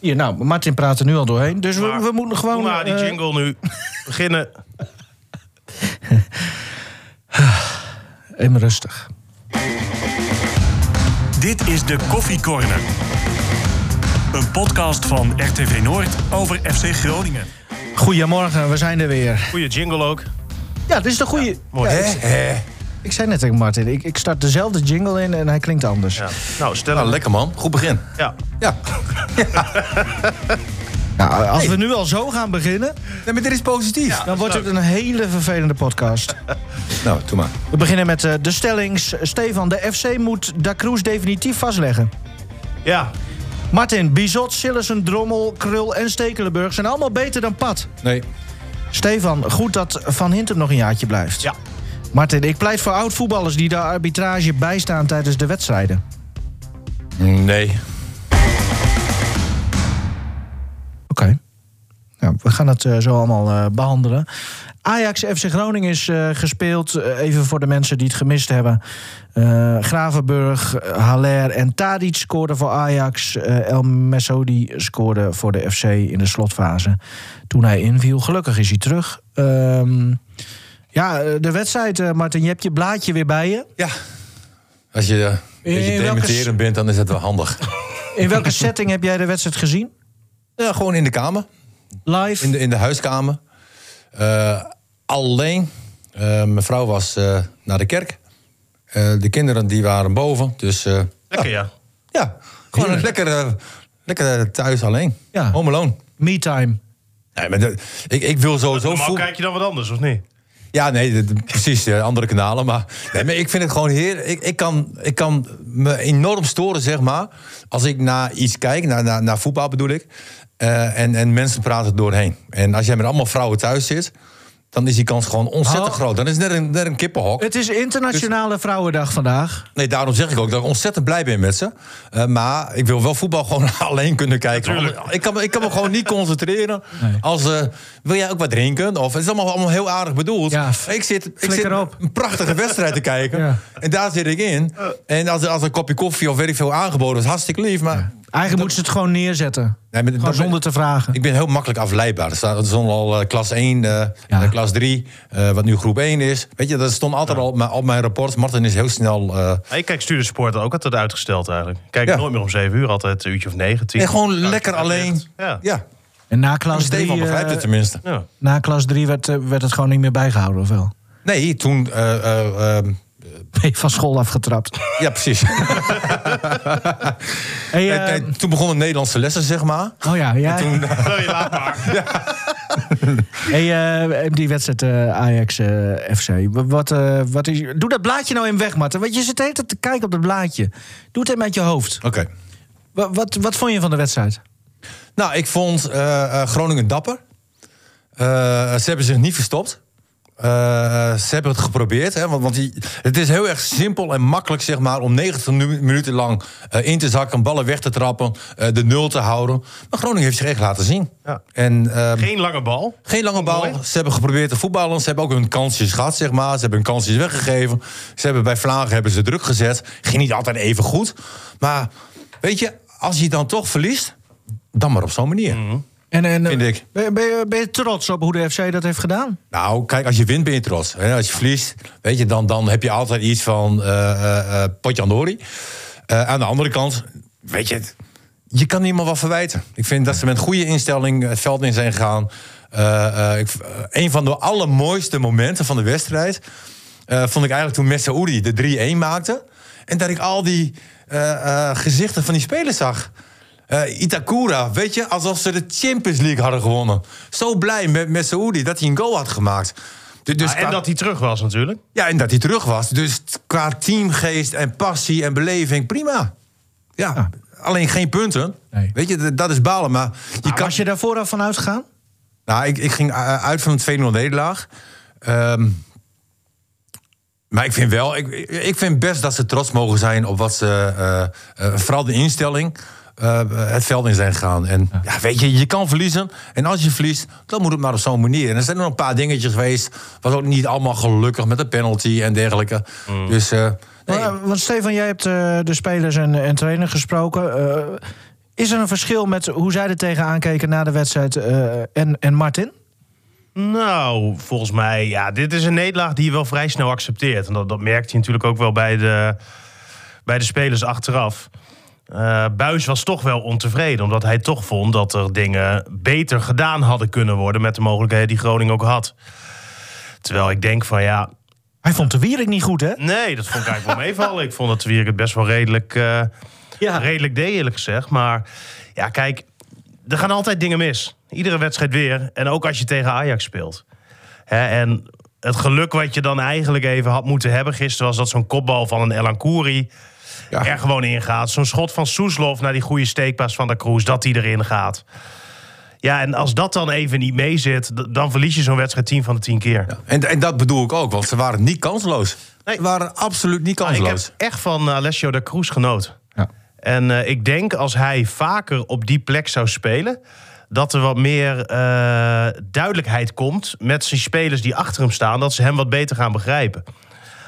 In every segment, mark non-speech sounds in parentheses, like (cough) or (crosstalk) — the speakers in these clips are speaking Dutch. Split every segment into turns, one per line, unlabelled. Hier, nou, Martin praat er nu al doorheen. Dus we,
Maar
we moeten gewoon...
Doe maar die
eh,
jingle nu. Beginnen.
even rustig.
Dit is de Koffie Corner. Een podcast van RTV Noord over FC Groningen.
Goedemorgen, we zijn er weer.
Goeie jingle ook.
Ja, dit is de goede...
Mooi.
Ja, ik, ik zei net tegen Martin, ik, ik start dezelfde jingle in en hij klinkt anders.
Ja. Nou, stel
Nou,
hem.
lekker man. Goed begin.
Ja.
(laughs) Ja.
Nou, als we nu al zo gaan beginnen,
Nee, maar dit is positief.
dan wordt het een hele vervelende podcast.
Nou, doe maar.
We beginnen met eh, de stellings. Stefan, de FC moet Da Cruz definitief vastleggen.
Ja.
Martin, Bizot, Sillessen, Drommel, Krul en Stekelenburg zijn allemaal beter dan Pat.
Nee.
Stefan, goed dat Van Hintem nog een jaartje blijft.
Ja.
Martin, ik pleit voor oud-voetballers die de arbitrage bijstaan tijdens de wedstrijden.
Nee.
Oké. Nou, we gaan het eh, zo allemaal eh, behandelen. Ajax FC Groningen is eh, gespeeld. Eh, even voor de mensen die het gemist hebben. Eh, Gravenburg, eh, Haller en Tadic scoorden voor Ajax. Eh, El Messodi scoorde voor de FC in de slotfase. Toen hij inviel. Gelukkig is hij terug. Ehm, ja, eh, de wedstrijd, eh, Martin. Je hebt je blaadje weer bij je.
Ja. Als je eh, een beetje
In welke
dementerend bent, dan is dat wel handig.
In welke setting heb jij de wedstrijd gezien?
(laughs) Ja, gewoon in de kamer.
Live?
In de, in de huiskamer. Eh, alleen, eh, mijn vrouw was eh, naar de kerk. Eh, de kinderen die waren boven. Dus eh,
Lekker,
ja.
ja.
Ja. Gewoon
Heerlijk.
lekker, eh, lekker eh, thuis alleen.
Ja.
Home alone.
Me time.
Nee, maar dat- ik, ik wil sowieso
Normaal
voetbal-
kijk je dan wat anders, of niet?
Ja, nee, d- d- precies. eh, Andere kanalen. Maar, nee, maar ik vind het gewoon heer. Ik, ik, kan, ik kan me enorm storen, zeg maar. Als ik naar iets kijk, naar, naar, naar voetbal bedoel ik. eh, en, en mensen praten er doorheen. En als jij met allemaal vrouwen thuis zit. dan is die kans gewoon ontzettend
Oh.
groot. Dan is het net een, net een kippenhok.
Het is
Dus-
Internationale Vrouwendag vandaag.
Nee, daarom zeg ik ook dat ik ontzettend blij ben met ze. Eh, maar ik wil wel voetbal (laughs) gewoon alleen kunnen kijken.
Natuurlijk.
Want Ik kan, me- ik kan me gewoon niet concentreren. Als, eh, wil jij ook wat drinken? Of, het is allemaal, allemaal heel aardig bedoeld.
Ja, f-
ik zit, ik
flikker
zit
op.
een prachtige
(laughs)
wedstrijd te kijken.
Ja.
En daar zit ik in. En als, als een kopje koffie of weet ik veel aangeboden is, hartstikke lief. Maar,
Eigenlijk moeten ze het gewoon neerzetten.
nee, maar
Gewoon
dat-
zonder te vragen.
ik ben heel makkelijk afleidbaar. Er staat er stond al eh, klas 1, eh,
Ja.
eh, klas 3, eh, wat nu groep 1 is. Weet je, dat stond altijd al op mijn, op mijn rapport. Martin is heel snel... eh,
Maar Ik kijk Studentensport ook altijd uitgesteld eigenlijk. Ik Kijk
Ja.
nooit meer om 7 uur, altijd een uurtje of Nou, 9, 10.
en gewoon lekker alleen.
Ja. ja.
ja. Dus eh,
En na klas
Stefan
3
begrijpt het tenminste.
na klas drie werd, eh, werd het gewoon niet meer bijgehouden, of wel? (laughs)
Nee, toen. eh, eh, eh,
Ben je van school afgetrapt.
ja, precies.
Hey,
Eh,
eh,
eh, toen begonnen Nederlandse lessen, zeg maar.
oh ja, ja.
Nou, je laat maar.
Hey, eh, die wedstrijd eh, Ajax eh, FC. Wat, eh, wat is, doe dat blaadje nou in weg, Marten. Want je zit de hele tijd te kijken op dat blaadje. Doe het even uit je hoofd.
(laughs) Oké.
Wa- Wat, wat vond je van de wedstrijd?
Nou, ik vond eh, eh, Groningen dapper. Eh, ze hebben zich niet verstopt. Eh, eh, ze hebben het geprobeerd. Hè, want want die, het is heel erg simpel en makkelijk zeg maar, om 90 nu- minuten lang eh, in te zakken, ballen weg te trappen, eh, de nul te houden. Maar Groningen heeft zich echt laten zien.
Ja.
En, ehm,
Geen lange bal.
Geen lange bal.
Mooi.
Ze hebben geprobeerd te voetballen. Ze hebben ook hun kansjes gehad, zeg maar. Ze hebben hun kansjes weggegeven. Ze hebben bij Vlagen hebben ze druk gezet. Ging niet altijd even goed. Maar weet je, als je dan toch verliest, dan maar op zo'n manier.
En, en, eh,
Vind ik.
Ben, ben je, ben je trots op hoe de FC dat heeft gedaan?
Nou, kijk, als je wint ben je trots. Hè? Als je verliest, weet je, dan, dan heb je altijd iets van eh eh, eh, potjandori. Eh, aan de andere kant, weet je, het, je kan niemand wat verwijten. Ik vind dat ze met goede instelling het veld in zijn gegaan. Eh, eh, ik v- eh, een van de allermooiste momenten van de wedstrijd eh, vond ik eigenlijk toen Messaoudi de 3-1 maakte. En dat ik al die eh, eh, gezichten van die spelers zag. Eh, Itakura, weet je, alsof ze de Champions League hadden gewonnen. Zo blij met Messaoudi dat hij een goal had gemaakt. Du- Dus
Ah, en
qua-
dat hij terug was natuurlijk.
ja, en dat hij terug was. Dus t- qua teamgeest en passie en beleving, prima. Ja, alleen geen punten.
Nee.
Weet je, d- dat is balen. Maar je
Je
kan...
Was je daar vooraf van uitgegaan?
Nou, ik, ik ging eh, uit van een 2-0 nederlaag. Ehm, maar ik vind wel, ik, ik vind best dat ze trots mogen zijn op wat ze, eh, eh, vooral de instelling, eh, het veld in zijn gegaan. En ja. weet je, je kan verliezen. En als je verliest, dan moet het maar op zo'n manier. En er zijn er nog een paar dingetjes geweest. Was ook niet allemaal gelukkig met de penalty en dergelijke. Dus eh,
Maar,
nee,
eh, Want Stefan, jij hebt eh, de spelers en, en trainer gesproken. Eh, Is er een verschil met hoe zij er tegenaan keken na de wedstrijd eh, en, en Martin?
Nou, volgens mij, ja, dit is een nederlaag die je wel vrij snel accepteert. En dat, dat merkte je natuurlijk ook wel bij de, bij de spelers achteraf. Eh Buis was toch wel ontevreden, omdat hij toch vond dat er dingen beter gedaan hadden kunnen worden met de mogelijkheden die Groningen ook had. Terwijl ik denk van ja,
Hij vond de Wierik niet goed, hè?
nee, dat vond ik eigenlijk wel meevallen. Ik vond dat de Wierik het best wel redelijk, eh,
Ja.
redelijk deed, eerlijk gezegd. Maar ja, kijk, er gaan altijd dingen mis. Iedere wedstrijd weer. En ook als je tegen Ajax speelt. Hè, en het geluk wat je dan eigenlijk even had moeten hebben gisteren... was dat zo'n kopbal van een Elan Kouri er gewoon in gaat. Zo'n schot van Soeslof naar die goede steekpaas van de Kroes... dat die erin gaat. Ja, en als dat dan even niet mee zit... d- dan verlies je zo'n wedstrijd 10 van de 10 keer.
En, en dat bedoel ik ook, want ze waren niet kansloos.
Nee.
Ze waren absoluut niet
Maar ik heb
kansloos.
echt van Alessio de Kroes genoten.
Ja.
En eh, ik denk als hij vaker op die plek zou spelen, dat er wat meer eh, duidelijkheid komt met zijn spelers die achter hem staan, dat ze hem wat beter gaan begrijpen.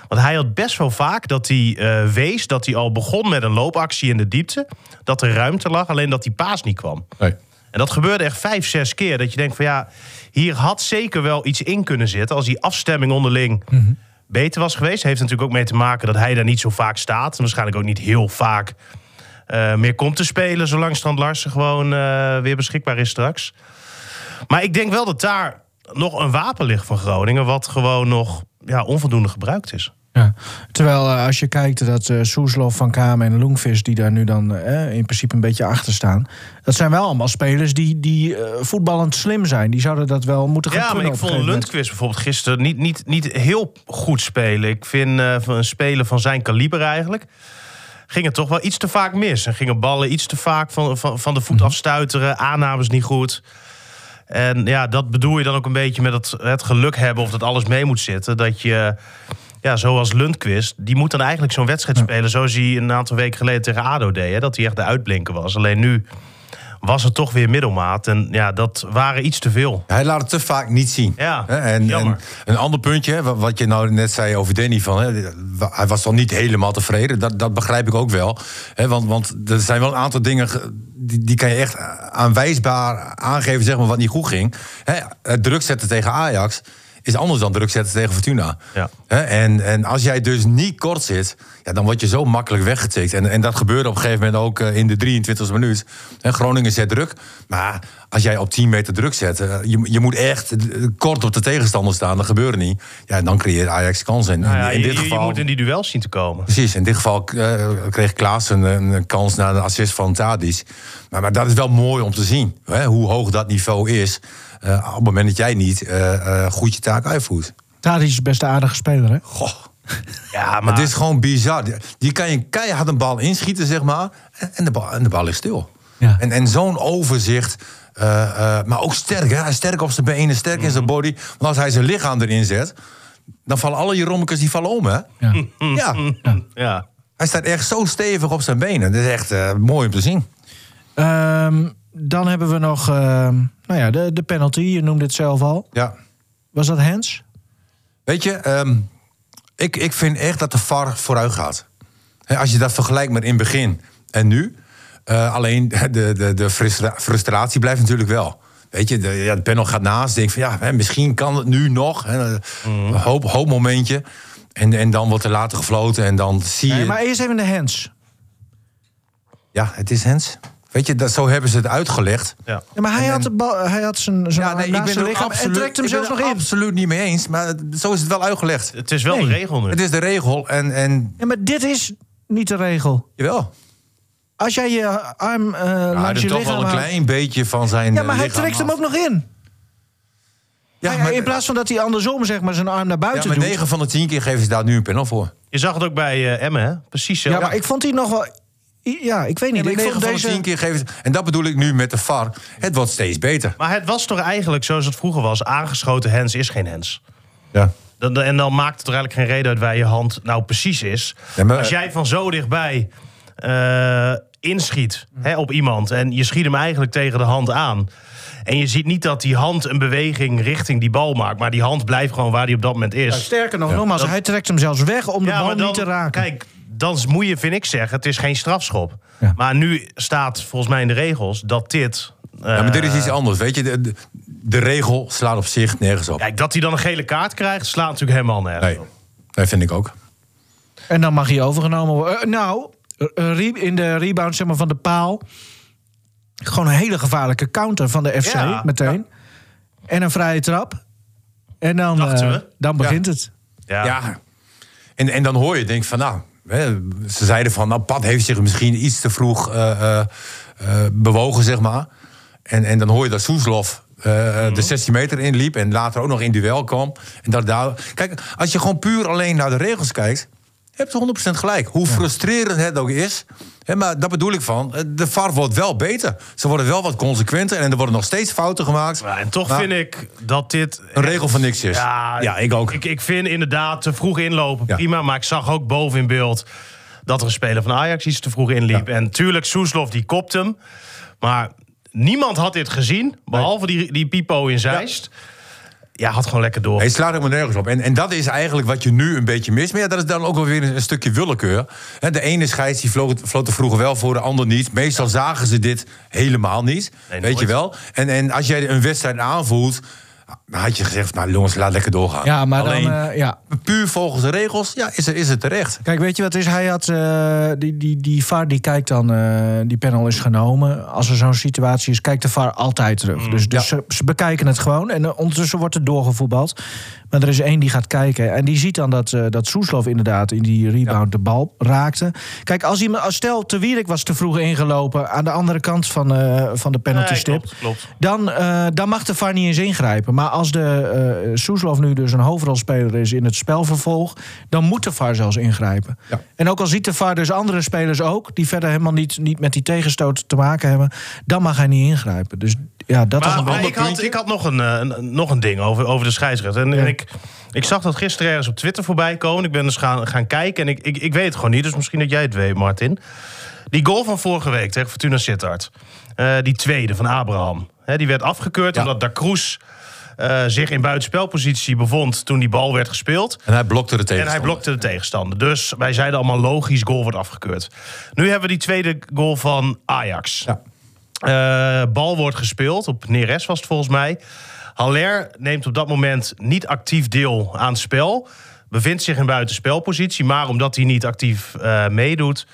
Want hij had best wel vaak dat hij eh, wees dat hij al begon met een loopactie in de diepte, dat er ruimte lag, alleen dat die paas niet kwam.
Nee.
En dat gebeurde echt vijf, zes keer. Dat je denkt van ja, hier had zeker wel iets in kunnen zitten. Als die afstemming onderling beter was geweest. Heeft natuurlijk ook mee te maken dat hij daar niet zo vaak staat. En waarschijnlijk ook niet heel vaak eh, meer komt te spelen. Zolang Strand Larsen gewoon eh, weer beschikbaar is straks. Maar ik denk wel dat daar nog een wapen ligt van Groningen. Wat gewoon nog ja, onvoldoende gebruikt is.
Ja. Terwijl eh, als je kijkt dat eh Soeslof, Van Kamen en Loengvis... die daar nu dan eh, in principe een beetje achter staan... dat zijn wel allemaal spelers die, die eh, voetballend slim zijn. Die zouden dat wel moeten gaan
Ja, maar
kunnen
ik
op een
vond
gegeven
Lundqvist bijvoorbeeld gisteren niet, niet, niet heel goed spelen. Ik vind eh, van een speler van zijn kaliber eigenlijk... ging het toch wel iets te vaak mis. En gingen ballen iets te vaak van, van, van de
Mhm.
voet afstuiteren. Aannames niet goed. En ja, dat bedoel je dan ook een beetje met het, het geluk hebben... of dat alles mee moet zitten. Dat je, ja, zoals Lundqvist... die moet dan eigenlijk zo'n wedstrijd spelen... zoals hij een aantal weken geleden tegen ADO deed. Hè, dat hij echt de uitblinker was. Alleen nu was het toch weer middelmaat. En ja, dat waren iets te veel.
Hij laat het te vaak niet zien.
Ja,
Hè, en,
jammer.
en een ander puntje, hè, wa- wat je nou net zei over Danny... Van, hè, hij was dan niet helemaal tevreden, dat, dat begrijp ik ook wel. Hè, want, want er zijn wel een aantal dingen... ge- Die, die kan je echt aanwijsbaar aangeven zeg maar, wat niet goed ging. Hè, het druk zetten tegen Ajax is anders dan druk zetten tegen Fortuna.
Ja.
Hè, en, en als jij dus niet kort zit, ja, dan word je zo makkelijk weggetikt. En, en dat gebeurde op een gegeven moment ook eh, in de 23e minuut. Hè, Groningen zet druk. Maar als jij op 10 meter druk zet, eh, je, je moet echt eh, kort op de tegenstander staan. Dat gebeurde niet. Ja, dan creëert Ajax kansen. En,
Nou ja,
in
je-
dit
je,
geval.
Je moet in die duels zien te komen.
Precies, in dit geval eh, kreeg Klaas een, een kans na de assist van Tadic. Maar, maar dat is wel mooi om te zien, hè, hoe hoog dat niveau is... eh, op het moment dat jij niet eh, eh, goed je taak uitvoert.
moment. Tadic is best een aardige speler, hè?
Goh.
Ja,
Maar
maar
dit is gewoon bizar. Die kan je keihard een bal inschieten, zeg maar. En en de bal, en de bal ligt stil.
Ja.
En, en zo'n overzicht. eh, eh, maar ook sterk. Hè? Hij is sterk op zijn benen, sterk in zijn body. Want als hij zijn lichaam erin zet... dan vallen alle Jeromekes die vallen om, hè?
Ja.
Ja.
ja.
Hij staat echt zo stevig op zijn benen. Dat is echt eh, mooi om te zien.
Ehm, dan hebben we nog ehm, nou ja, de, de penalty. Je noemde het zelf al.
Ja.
Was dat Hens?
Weet je, ehm, ik, ik vind echt dat de VAR vooruit gaat. Hè, als je dat vergelijkt met in het begin en nu. eh, alleen de, de, de frustra- frustratie blijft natuurlijk wel. Weet je, de, ja, de panel gaat naast. Denk van ja, hè, misschien kan het nu nog. Hè,
Mhm.
een hoop, hoop momentje. En, en dan wordt er later gefloten. En dan zie je.
Nee, maar eerst even de Hens.
Ja, het is Hens. Weet je, dat, zo hebben ze het uitgelegd.
ja.
Ja, maar hij,
En-
had de bal, hij had zijn, zijn
Ja, nee, ik
naast
ben
zijn
er
lichaam en
absoluut,
trekt hem
ik ben
zelfs nog
er
in.
absoluut niet mee eens. Maar het- zo is het wel uitgelegd.
Het is wel
Nee.
een regel nu.
Het is de regel. En, en
Ja, maar dit is niet de regel.
jawel.
Als jij je arm eh
Ja,
langs
dus
je
toch
lichaam
wel een
houdt-
klein beetje van zijn. eh,
Ja, maar hij
lichaam
trekt hem
af.
ook nog in.
Ja,
Hij-
maar,
in plaats van dat hij andersom zeg maar, zijn arm naar
ja,
buiten
maar
doet.
9 van de 10 keer geven ze daar nu een panel voor.
Je zag het ook bij eh, Emmen, hè? Precies zo.
Ja, maar ik vond die nog wel... I- Ja, ik weet niet.
Ja,
ik
9
vond
van de 10
deze...
keer geven ze. En dat bedoel ik nu met de VAR. Het wordt steeds beter.
Maar het was toch eigenlijk zoals het vroeger was: aangeschoten hens is geen hens.
Ja.
Dan, dan- en dan maakt het er eigenlijk geen reden uit waar je hand nou precies is.
Ja, maar-
Als jij van zo dichtbij eh, inschiet hè, op iemand en je schiet hem eigenlijk tegen de hand aan. En je ziet niet dat die hand een beweging richting die bal maakt, maar die hand blijft gewoon waar die op dat moment is.
Sterker nog, nogmaals, hij trekt hem zelfs weg om de bal
maar dan-
niet te raken.
Kijk, dan moet je, vind ik, zeggen: het is geen strafschop.
Ja.
Maar nu staat volgens mij in de regels dat dit.
Ja, maar
eh,
dit is iets anders. Weet je, de, de, de regel slaat op zich nergens op.
Kijk, dat hij dan een gele kaart krijgt, slaat natuurlijk helemaal nergens
Nee,
op.
dat vind ik ook.
En dan mag hij overgenomen worden. Eh, nou, eh, re- in de rebound zeg maar, van de paal. Gewoon een hele gevaarlijke counter van de FC
Ja,
meteen. En een vrije trap. En dan,
Dachten
eh,
we.
dan begint het.
Ja.
Ja. En, en dan hoor je, denk van nou, hè, ze zeiden van, nou, Pat heeft zich misschien iets te vroeg eh, eh, eh, bewogen, zeg maar. En, en dan hoor je dat Soeslof eh, eh,
Mhm.
de 16 meter inliep en later ook nog in duel kwam. En dat daar, kijk, als je gewoon puur alleen naar de regels kijkt, heb je 100% gelijk. Hoe frustrerend het ook is. Hè, maar dat bedoel ik van, eh, de VAR wordt wel beter. Ze worden wel wat consequenter en er worden nog steeds fouten gemaakt.
Ja, en toch
Maar
vind ik dat dit.
Een regel van niks is.
Ja,
Ja, ik ook.
Ik, ik vind inderdaad te vroeg inlopen
Ja.
prima. Maar ik zag ook boven in beeld dat er een speler van Ajax iets te vroeg inliep. En tuurlijk, Soeslof die kopt hem. Maar niemand had dit gezien. Behalve die, die Pipo in Zeist. Ja, had gewoon lekker door.
Hij slaat helemaal nergens op. En, en dat is eigenlijk wat je nu een beetje mist. Maar ja, dat is dan ook wel weer een, een stukje willekeur. Hè, De ene scheids die vloot, vloot er vroeger wel voor, de ander niet. Meestal zagen ze dit helemaal niet.
Nee,
weet je
nooit.
wel? En, en als jij een wedstrijd aanvoelt... dan had je gezegd, nou jongens, laat lekker doorgaan.
Ja, maar
Alleen,
dan... eh, ja.
puur volgens de regels, ja, is, er, is het terecht.
Kijk, weet je wat het is? Hij had eh, die, die, die VAR die kijkt dan, eh, die panel is genomen. Als er zo'n situatie is, kijkt de VAR altijd terug.
Mm,
dus dus ze, ze bekijken het gewoon. En eh, ondertussen wordt er doorgevoetbald. Maar er is één die gaat kijken. En die ziet dan dat, eh dat Soeslof inderdaad in die rebound de bal raakte. Kijk, als iemand, als stel, Te Wierik was te vroeg ingelopen aan de andere kant van, eh, van de penalty
Nee,
stip.
klopt, klopt.
Dan, eh, dan mag de VAR niet eens ingrijpen. Maar als de eh Soeslof nu dus een hoofdrolspeler is in het spelvervolg... dan moet de VAR zelfs ingrijpen.
Ja.
En ook al ziet de VAR dus andere spelers ook... die verder helemaal niet, niet met die tegenstoot te maken hebben... dan mag hij niet ingrijpen. Dus ja, dat is
Maar,
een
maar
ander
ik, had,
puntje.
ik had nog een, eh, een- nog een ding over, over de scheidsrechter. En, en
Ja.
ik, ik zag dat gisteren ergens op Twitter voorbij komen. Ik ben eens gaan, gaan kijken en ik, ik, ik weet het gewoon niet. Dus misschien dat jij het weet, Martin. Die goal van vorige week tegen Fortuna Sittard. eh, die tweede van Abraham. Hè, die werd afgekeurd
Ja.
omdat Da Cruz eh, zich in buitenspelpositie bevond toen die bal werd gespeeld.
En hij blokte de
En hij
tegenstander.
blokte de tegenstander. Dus wij zeiden allemaal logisch, goal wordt afgekeurd. Nu hebben we die tweede goal van Ajax.
Ja.
Eh, bal wordt gespeeld, op Neres was het volgens mij. Haller neemt op dat moment niet actief deel aan het spel. Bevindt zich in buitenspelpositie, maar omdat hij niet actief eh, meedoet,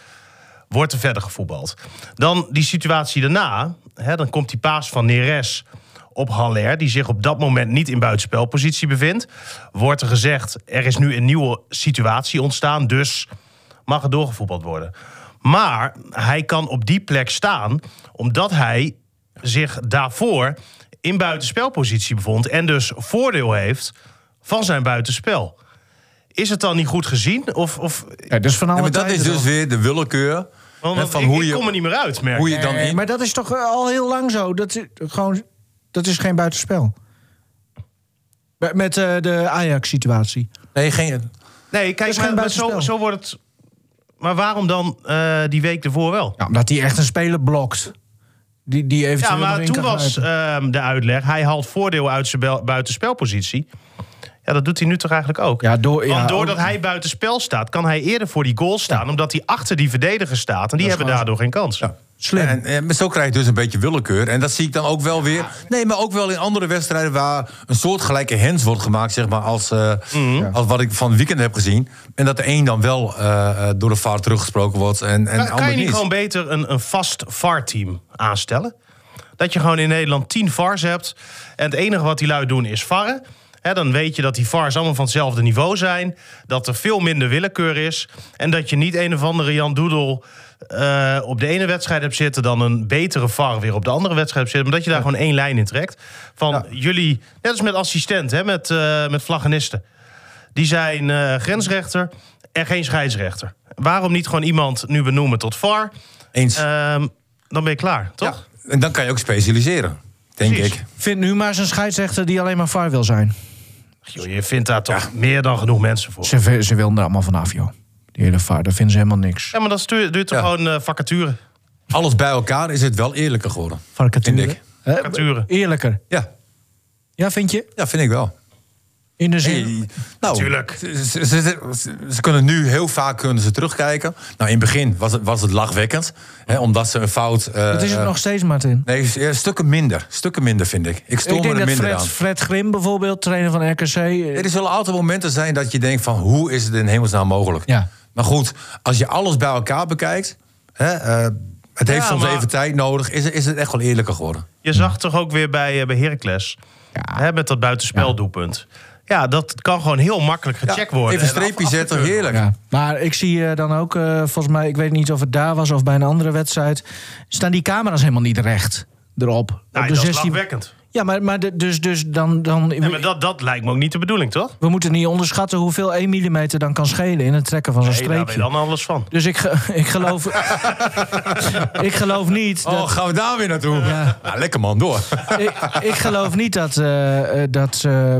wordt er verder gevoetbald. Dan die situatie daarna, hè, dan komt die paas van Neres op Haller, die zich op dat moment niet in buitenspelpositie bevindt. Wordt er gezegd, er is nu een nieuwe situatie ontstaan, dus mag er doorgevoetbald worden. Maar hij kan op die plek staan, omdat hij zich daarvoor in buitenspelpositie bevond en dus voordeel heeft van zijn buitenspel. Is het dan niet goed gezien? Of, of,
Ja, dus van alle
Ja, maar dat
tijden
is dus
toch?
weer de willekeur
want
hè, van
ik,
hoe,
ik kom er
je,
niet meer uit, merk
hoe je dan
Nee,
in...
maar dat is toch eh, al heel lang zo. Dat, is- gewoon, dat is geen buitenspel. Met- Met eh, de Ajax-situatie.
Nee, geen...
Nee, kijk,
is geen
maar, maar zo,
buitenspel.
zo wordt het. Maar waarom dan eh, die week ervoor wel?
Ja, omdat hij echt een speler blokt. Die, die
Ja,
eventueel nog
maar
in
toen
kan
was
grijpen.
ehm, de uitleg: hij haalt voordeel uit zijn bel- buitenspelpositie. Ja, dat doet hij nu toch eigenlijk ook?
Ja, door, ja, oh,
Want doordat
ook-
hij buitenspel staat, kan hij eerder voor die goal staan, omdat hij achter die verdediger staat. En die hebben
gewoon
daardoor geen kans.
Slim.
En, en, maar zo krijg je dus een beetje willekeur. En dat zie ik dan ook wel weer. Nee, maar ook wel in andere wedstrijden waar een soortgelijke hands wordt gemaakt, zeg maar, als, eh,
Mhm.
als wat ik van het weekend heb gezien. En dat de een dan wel eh, eh, door de VAR teruggesproken wordt en, en de
kan, kan
ander
je niet
niet.
gewoon beter een, een vast VAR-team aanstellen? Dat je gewoon in Nederland 10 VARs hebt. En het enige wat die lui doen is varren. Hè, dan weet je dat die VARs allemaal van hetzelfde niveau zijn. Dat er veel minder willekeur is. En dat je niet een of andere Jan Doedel eh, op de ene wedstrijd hebt zitten. dan een betere VAR weer op de andere wedstrijd hebt zitten. Maar dat je daar gewoon één lijn in trekt. Van jullie, net als met assistenten, hè, met, eh, met vlaggenisten. Die zijn eh, grensrechter en geen scheidsrechter. Waarom niet gewoon iemand nu benoemen tot VAR?
Eens.
Ehm, dan ben je klaar, toch?
Ja. En dan kan je ook specialiseren, denk
Precies.
ik.
Vind nu maar eens een scheidsrechter die alleen maar VAR wil zijn.
Joh, je vindt daar toch meer dan genoeg mensen voor.
Ze, ze willen er allemaal vanaf, joh. Die hele VAR, daar vinden ze helemaal niks.
Ja, maar dat stuur- duurt toch
Ja.
gewoon eh, vacature?
Alles bij elkaar is het wel eerlijker geworden.
Vacature.
Vind ik.
Hè,
Vacature.
Eerlijker.
Ja,
Ja, vind je?
ja vind ik wel.
In de zin.
Hey, nou,
Tuurlijk.
Ze, ze- ze- ze- ze kunnen nu heel vaak kunnen ze terugkijken. Nou, in het begin was het, was het lachwekkend. Hè, omdat ze een fout... eh,
dat is het
eh,
nog steeds, Martin.
Nee, ja, stukken minder. Stukken minder, vind ik. Ik stoor
ik
me
denk
er
dat
minder
Fred,
aan.
Fred Grim bijvoorbeeld, trainer van RKC. eh,
Er zullen altijd momenten zijn dat je denkt van... hoe is het in hemelsnaam mogelijk?
Ja.
Maar goed, als je alles bij elkaar bekijkt... Hè, eh, het heeft
Ja,
soms
maar-
even tijd nodig. Is, is het echt wel eerlijker geworden?
Je zag toch ook weer bij, eh, bij Heracles. Hè, met dat buitenspeldoelpunt. Ja, dat kan gewoon heel makkelijk gecheckt
Ja,
worden.
Even een
En af-
streepje zetten, heerlijk.
Ja. Maar ik zie eh, dan ook, eh, volgens mij, ik weet niet of het daar was of bij een andere wedstrijd, staan die camera's helemaal niet recht erop.
Nou,
Op de
dat is
16
lachwekkend.
Ja, maar, maar de- dus, dus dan. dan
Nee, maar dat, dat lijkt me ook niet de bedoeling, toch?
We moeten niet onderschatten hoeveel 1 mm dan kan schelen in het trekken van zo'n
Nee, daar weet
streepje.
dan alles van.
Dus ik, ge- (laughs) ik
(laughs)
geloof. ik geloof niet. Dat,
Oh, gaan we daar weer naartoe? Ja. lekker man, door.
ik, ik geloof niet dat. eh, eh, dat eh,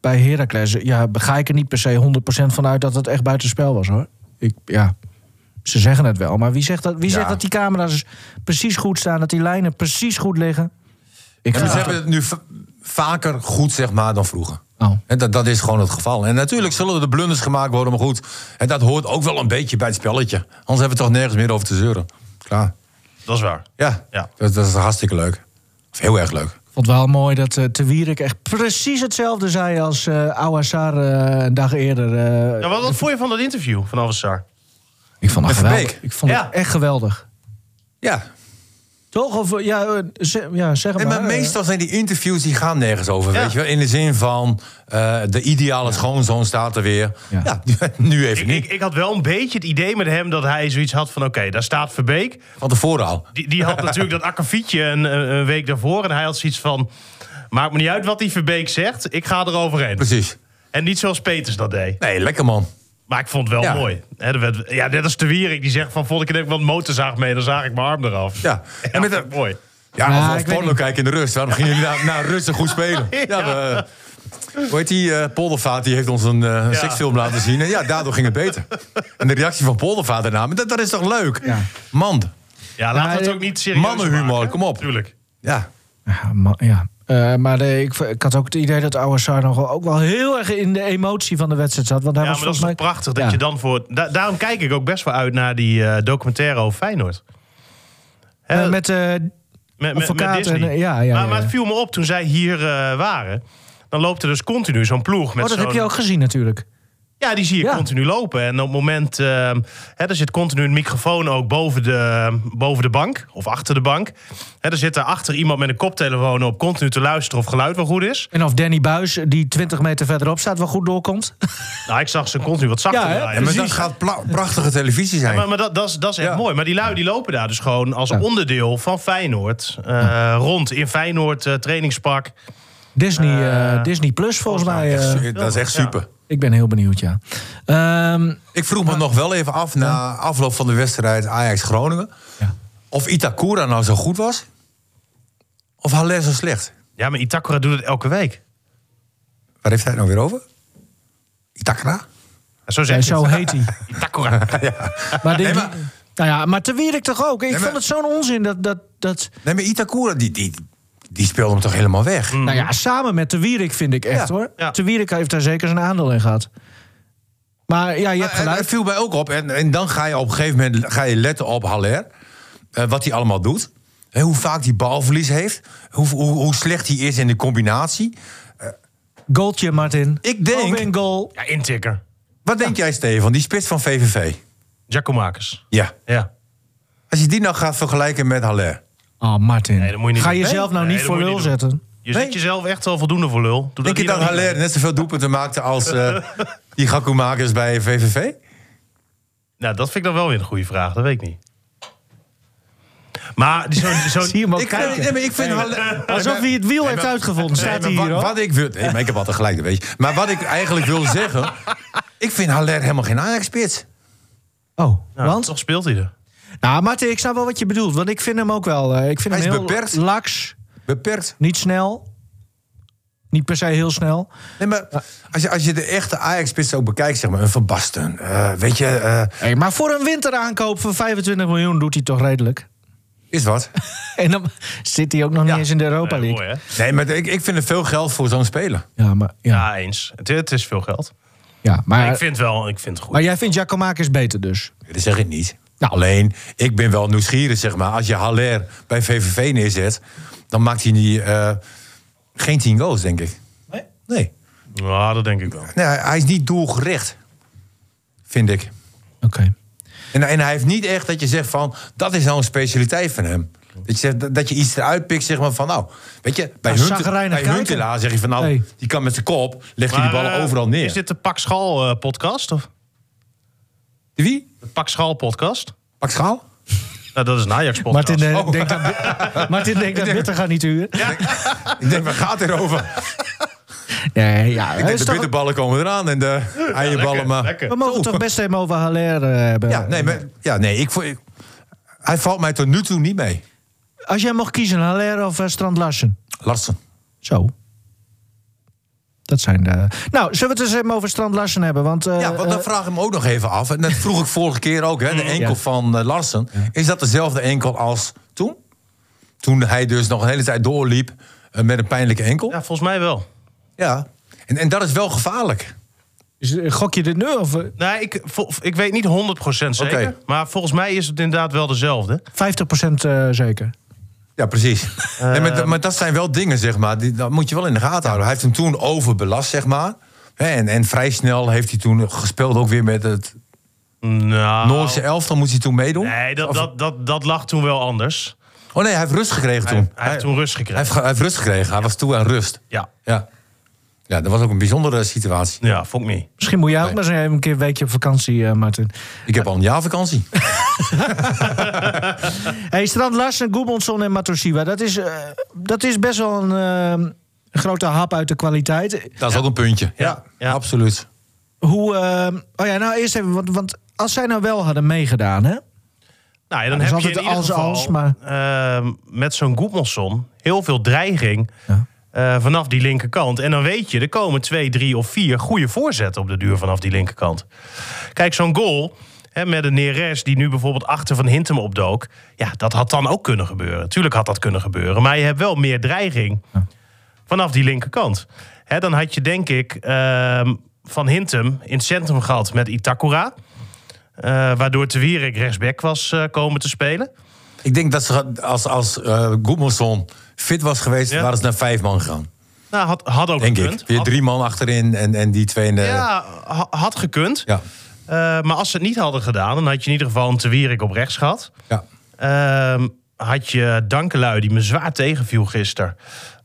bij Heracles. Ja, ga ik er niet per se 100% van uit dat het echt buitenspel was hoor. Ik, ja. Ze zeggen het wel, maar wie zegt dat, wie zegt
Ja.
dat die camera's precies goed staan, dat die lijnen precies goed liggen? Ik
En
geloof
ze hebben het nu va- vaker goed, zeg maar, dan vroeger.
Oh.
En dat, dat is gewoon het geval. En natuurlijk zullen er blunders gemaakt worden, maar goed. En dat hoort ook wel een beetje bij het spelletje. Anders hebben we het toch nergens meer over te zeuren. Klaar.
Dat is waar.
Ja,
Ja.
Dat, dat is hartstikke leuk. Of heel erg leuk.
Ik vond het wel mooi dat eh Te Wierik echt precies hetzelfde zei als eh Ouassar eh, een dag eerder. eh.
Ja, wat, wat vond je van dat interview van Alvassar?
ik vond het
Met Van
geweldig.
Beek.
Ik vond
Ja.
het echt geweldig.
Ja,
Toch? Of, eh, ja, eh, ze- ja, zeg maar.
en maar
eh.
meestal zijn die interviews die gaan nergens over,
Ja.
weet je wel. In de zin van, eh, de ideale schoonzoon staat er weer.
Ja.
Ja, (laughs) nu even
Ik,
niet.
ik, ik had wel een beetje het idee met hem dat hij zoiets had van... oké, daar staat Verbeek.
Van tevoren al.
Die, die
(laughs)
had natuurlijk dat akkefietje een, eh, een week daarvoor. En hij had zoiets van... maakt me niet uit wat die Verbeek zegt, ik ga er overheen.
Precies.
En niet zoals Peters dat deed.
Nee, lekker man.
Maar ik vond het wel
Ja.
mooi. Hè, er werd- ja, net als de Wierik die zegt van... vond ik er even wat motorzaag mee, dan zaag ik mijn arm eraf.
Ja.
en
En met de-
mooi.
Ja,
Ja,
of-
ik
of,
weet
porno
niet.
kijken in de rust. Waarom gingen jullie naar, naar rustig goed spelen? Ja,
Ja.
we, eh, hoe heet die? eh, Poldervaart die heeft ons een eh, seksfilm laten zien. En ja, daardoor ging het beter. En de reactie van Poldervaart daarna, maar dat, dat is toch leuk?
Ja.
Man,
Ja, laten we het
Maar,
ook niet serieus
mannenhumor,
maken.
kom op.
Tuurlijk.
ja.
Ja, ma- ja. Eh, maar eh, ik, ik had ook het idee dat Ouassar nog wel, ook wel heel erg in de emotie van de wedstrijd zat. Want hij
Ja,
was
maar dat is
volgens
toch
mij...
prachtig dat
Ja.
je dan voor... da- daarom kijk ik ook best wel uit naar die eh, documentaire over Feyenoord. Hè,
Eh, met, eh,
Met, met, met
Advocaat
Disney.
en, eh, ja, ja,
maar,
ja,
maar het
ja.
viel me op toen zij hier eh, waren. Dan loopt er dus continu zo'n ploeg met
oh, dat
zo'n...
heb je ook gezien natuurlijk.
Ja, die zie je
Ja.
continu lopen. En op het moment... ehm hè, er zit continu een microfoon ook boven de, boven de bank. Of achter de bank. Hè, er zit daarachter iemand met een koptelefoon op... continu te luisteren of geluid wel goed is.
En of Danny Buis, die 20 meter verderop staat, wel goed doorkomt. (laughs)
Nou, ik zag ze continu wat zachter
Ja, hè?
draaien.
En maar dat
Precies.
gaat pla- prachtige televisie zijn.
Maar, maar dat, dat, is, dat is echt
Ja.
mooi. Maar die lui die lopen daar dus gewoon als
Ja.
onderdeel van Feyenoord. eh, Rond in Feyenoord eh, trainingspak.
Disney, eh,
Eh,
Disney Plus volgens mij. eh,
Echt su- dat is echt
ja.
super.
ik ben heel benieuwd, ja. Ehm,
Ik vroeg me nog wel even af na afloop van de wedstrijd Ajax-Groningen...
Ja.
of Itakura nou zo goed was of Haller zo slecht.
Ja, maar Itakura doet het elke week.
Waar heeft hij het nou weer over? Itakura?
Ja, Zo
ja,
zeg je
zo
het.
heet
(laughs)
hij.
Itakura.
Maar, dit,
Nee, maar-
nou ja, maar te Wierik toch ook? Ik
maar-
vond het zo'n onzin dat... dat, dat
Nee, maar Itakura, die, die, die speelde hem toch helemaal weg?
Nou ja, samen met te Wierik vind ik echt
Mhm. Ja,
hoor.
ja.
Te Wierik heeft daar zeker zijn aandeel in gehad. Maar ja, je hebt
En dat
gelijk.
viel mij ook op. En, en dan ga je op een gegeven moment ga je letten op Haller. Eh, wat hij allemaal doet. Hè, hoe vaak hij balverlies heeft. Hoe, hoe, hoe slecht hij is in de combinatie.
Goaltje, Martin.
eh, Ik denk-
Open goal.
Ja, intikker.
Wat denk jij, Stefan? Die spits van VVV.
Giacomakis.
Ja.
Ja.
Als je die nou gaat vergelijken met Haller.
Oh, Martin.
Nee, dat moet je niet
Ga
doen.
jezelf nou
Nee,
niet
dat
voor
moet je
lul
niet doen.
zetten.
Je
Nee.
zet jezelf echt wel voldoende voor lul. Doe
Denk je
hier
dat
dan niet
Haller
mee.
net zoveel doelpunten maakte als eh, die Gakkoemakers bij VVV?
Nou, dat vind ik dan wel weer een goede vraag. Dat weet ik niet. Maar die- zo'n... zo'n-
Zie je hem ook
Ik, eh,
kijken.
nee, maar ik vind Haller...
Alsof hij het wiel
eh,
heeft uitgevonden,
Nee,
staat hij
maar
hier
wat,
hoor.
wat ik wil, nee, maar ik heb altijd gelijk, dat weet je. Maar wat ik eigenlijk wil zeggen, ik vind Haller helemaal geen Ajax-spits.
Oh,
Nou,
want?
Toch speelt hij er.
Nou, Martin, ik snap wel wat je bedoelt. Want ik vind hem ook wel... eh, ik vind
Hij
hem
is
heel
beperkt.
laks.
Beperkt.
Niet snel. Niet per se heel snel.
Nee, maar als je, als je de echte Ajax-spits ook bekijkt, zeg maar, een Van Basten, eh, weet je... eh,
Hey, maar voor een winteraankoop van 25 miljoen doet hij toch redelijk.
Is wat.
En dan zit hij ook nog niet eens in de Europa
Nee,
League.
mooi, hè?
Nee, maar ik, ik vind het veel geld voor zo'n speler.
ja, maar, ja,
Ja, eens. Het, het is veel geld.
ja,
Maar
maar,
ik vind wel, ik vind het goed.
maar jij vindt Giacomakis beter dus?
Dat zeg ik niet. Nou, Alleen, ik ben wel nieuwsgierig, zeg maar. Als je Haller bij VVV neerzet, dan maakt hij niet, eh, geen 10 goals, denk ik.
Nee?
Nee.
Ja, dat denk ik wel.
nee hij hij is niet doelgericht, vind ik.
Oké.
En, en hij heeft niet echt dat je zegt van, dat is nou een specialiteit van hem. Dat je, zegt, dat- dat je iets eruit pikt, zeg maar van nou, weet je, bij,
Nou,
Hunt,
chagrijnig
bij
kijken.
Huntelaar zeg je van nou,
Nee.
die kan met zijn kop, legt hij die
Maar,
ballen
eh,
overal neer.
Is dit de Pak Schal eh, podcast? Of
Wie?
de Pak Schal podcast?
Pak Schaal?
Nou, dat is een Ajax podcast.
Martin, eh, denkt dat,
(laughs)
Martin denkt dat Bitter gaat niet huren.
Ik denk, waar gaat het over?
Nee, ja.
Ik
het
denk,
is
de
toch-
bitterballen komen eraan en de eierballen maar.
lekker.
we mogen het toch best even over Haller eh, hebben.
Ja, nee, maar, ja, nee ik, vo- ik- hij valt mij tot nu toe niet mee.
Als jij mocht kiezen, Haller of eh, Strand Larsen?
Larsen.
Zo. Dat zijn de... Nou, zullen we het eens even over Strand Larsen hebben? Want, eh,
Ja, want dan
eh,
vraag ik me ook nog even af. En dat vroeg ik vorige keer ook, hè, de enkel van eh, Larsen. Is dat dezelfde enkel als toen? Toen hij dus nog een hele tijd doorliep eh, met een pijnlijke enkel? Ja.
Ja, volgens mij wel.
En, en dat is wel gevaarlijk.
eh, is- gok je dit nu? Of eh, 50%
Nee, Nou, ik, vol- ik weet niet 100% zeker.
Oké.
Maar volgens mij is het inderdaad wel dezelfde.
eh, zeker?
Ja, precies. Nee, maar, dat- maar dat zijn wel dingen, zeg maar. Die, dat moet je wel in de gaten houden. Hij heeft hem toen overbelast, zeg maar. Hè, En, en vrij snel heeft hij toen gespeeld ook weer met het
Nou,
Noorse elftal. Moest hij toen meedoen?
nee, dat,
Of-
dat, dat, dat lag toen wel anders.
Oh nee, hij heeft rust gekregen
Hij,
toen.
hij heeft toen rust
Hij
gekregen.
heeft, ge- hij heeft rust gekregen. Hij was toe aan rust.
Ja,
Ja. ja, dat was ook een bijzondere situatie.
ja fuck me.
Misschien moet jij ook
Nee.
maar eens even een keer een weekje op vakantie, eh, Martin.
Ik heb al een jaar vakantie.
Hey, Strand Larsen, Goedmondson en Matosiwa. Dat is, eh, dat is best wel een eh, grote hap uit de kwaliteit.
Dat is ook een puntje.
Ja. Ja.
absoluut.
Hoe... eh, oh ja, nou eerst even, want, want als zij nou wel hadden meegedaan, hè?
Nou, ja, dan
dat
heb
is
je in
altijd
ieder
als-
geval
als, maar-
ehm, met zo'n Goedmanson heel veel dreiging
Ja.
eh, vanaf die linkerkant. En dan weet je, er komen twee, drie of vier goede voorzetten op de duur vanaf die linkerkant. Kijk, zo'n goal hè, met een Neres die nu bijvoorbeeld achter Van Hintem opdook. Ja, dat had dan ook kunnen gebeuren. Tuurlijk had dat kunnen gebeuren. Maar je hebt wel meer dreiging vanaf die linkerkant. Hè, dan had je denk ik ehm, Van Hintem in het centrum gehad met Itakura. Eh, waardoor Te Wierik rechtsback was eh, komen te spelen.
Ik denk dat ze als, als eh Gudmundsson fit was geweest,
Ja.
waren ze naar vijf man gegaan.
Nou, had, had ook
Denk
gekund.
ik. Weer
Had-
drie man achterin en, en die twee in de...
Ja, ha- had gekund.
Ja.
Eh, maar als ze het niet hadden gedaan, dan had je in ieder geval een Te Wierik op rechts gehad.
Ja.
Ehm, had je Dankelui, die me zwaar tegenviel gisteren,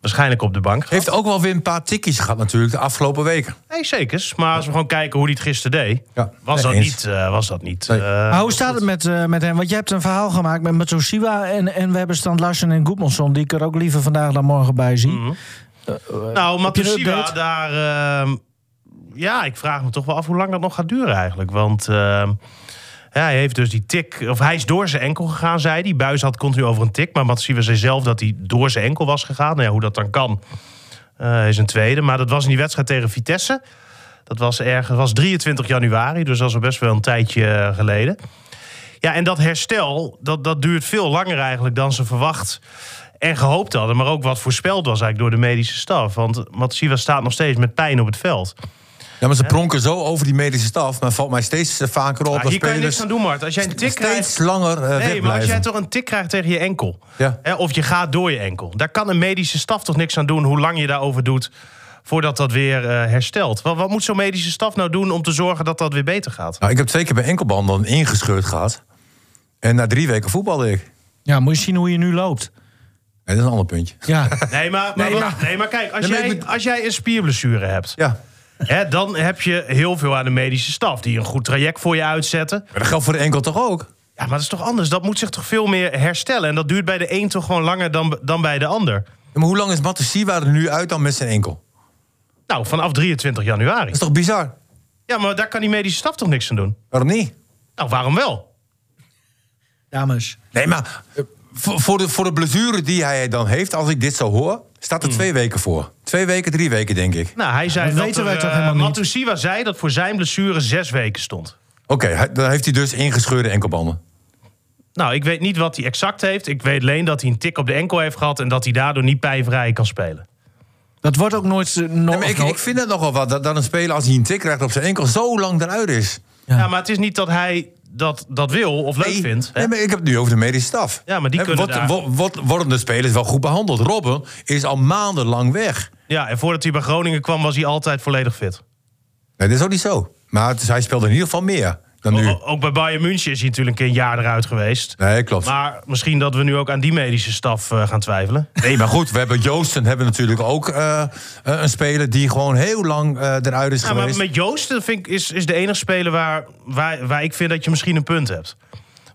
waarschijnlijk op de bank. gehad.
Heeft ook wel weer een paar tikkies gehad natuurlijk de afgelopen weken.
Nee, zeker. Maar als we gewoon kijken hoe hij het gisteren deed,
Ja,
was,
nee,
dat
eens.
niet, eh, was dat niet.
Nee.
eh,
maar hoe staat het met, eh, met hem? Want je hebt een verhaal gemaakt met Matosiwa... en, en we hebben Strand Larsen en Goedmondson... die ik er ook liever vandaag dan morgen bij zie.
nou,
je een
Matusiwa,
update?
daar... ehm, ja, ik vraag me toch wel af hoe lang dat nog gaat duren eigenlijk. Want ehm, ja, hij heeft dus die tik... Of hij is door zijn enkel gegaan, zei hij. Buis had continu over een tik. Maar Matusiwa zei zelf dat hij door zijn enkel was gegaan. Nou ja, hoe dat dan kan, eh, is een tweede. Maar dat was in die wedstrijd tegen Vitesse. Dat was ergens was 23 januari, dus dat is al best wel een tijdje eh, geleden. Ja, en dat herstel, dat, dat duurt veel langer eigenlijk dan ze verwacht en gehoopt hadden. Maar ook wat voorspeld was eigenlijk door de medische staf. Want Matsiwa staat nog steeds met pijn op het veld.
Ja, maar ze pronken zo over die medische staf, maar valt mij steeds eh, vaker op
Nou,
dat
hier kan je
spelers
niks aan doen, Mart. Als jij een tik
steeds
krijgt...
langer
Nee, maar
eh
als jij
wegblijven.
toch een tik krijgt tegen je enkel...
Ja.
Hè, of je gaat door je enkel... daar kan een medische staf toch niks aan doen... hoe lang je daarover doet voordat dat weer eh, herstelt. Wat, wat moet zo'n medische staf nou doen... om te zorgen dat dat weer beter gaat?
Nou, ik heb twee keer bij enkelbanden een ingescheurd gehad. En na drie weken voetbalde ik.
Ja, moet je zien hoe je nu loopt.
Nee, dat is een ander puntje.
Ja,
Nee, maar, maar,
Nee,
maar- nee, maar kijk, als
Nee, maar
jij,
ik bedo-
als jij een spierblessure hebt...
Ja.
Hè, dan heb je heel veel aan de medische staf... die een goed traject voor je uitzetten.
Maar dat geldt voor de enkel toch ook?
Ja, maar dat is toch anders? Dat moet zich toch veel meer herstellen? En dat duurt bij de een toch gewoon langer dan, dan bij de ander?
Ja, maar hoe lang is Matusiwa er nu uit dan met zijn enkel?
Nou, vanaf 23
Dat
januari.
is toch bizar?
Ja, maar daar kan die medische staf toch niks aan doen?
Waarom niet?
Nou, waarom wel?
(laughs) dames.
Nee, maar eh, voor, voor, de, voor de blessure die hij dan heeft, als ik dit zo hoor, staat er twee weken voor. Twee weken, drie weken, denk ik.
Nou, hij zei
dat
dat
weten wij
er,
toch
eh,
helemaal niet?
Matusiwa zei dat voor zijn blessure zes weken stond.
Oké, hij- dan heeft hij dus ingescheurde enkelbanden.
Nou, ik weet niet wat hij exact heeft. Ik weet alleen dat hij een tik op de enkel heeft gehad en dat hij daardoor niet pijnvrij kan spelen.
Dat wordt ook nooit... eh, no-
Nee, maar ik, ik vind het nogal wat dat, dat een speler als hij een tik krijgt op zijn enkel zo lang eruit is.
Ja, maar het is niet dat hij dat, dat wil of leuk
Nee,
vindt. hè?
nee, maar ik heb het nu over de medische staf.
Ja, maar die kunnen
wordt,
daar-
wo- wordt- worden de spelers wel goed behandeld? Robben is al maandenlang weg.
Ja, en voordat hij bij Groningen kwam was hij altijd volledig fit.
Nee, dat is ook niet zo. Maar het is- hij speelde in ieder geval meer dan nu.
O- o- ook bij Bayern München is hij natuurlijk een keer een jaar eruit geweest.
Nee, klopt.
Maar misschien dat we nu ook aan die medische staf eh, gaan twijfelen.
Nee, maar goed, we hebben Joosten hebben natuurlijk ook eh, een speler die gewoon heel lang eh, eruit is
Ja, Nou, maar
geweest.
met Joost dat vind ik, is, is de enige speler waar, waar, waar ik vind dat je misschien een punt hebt.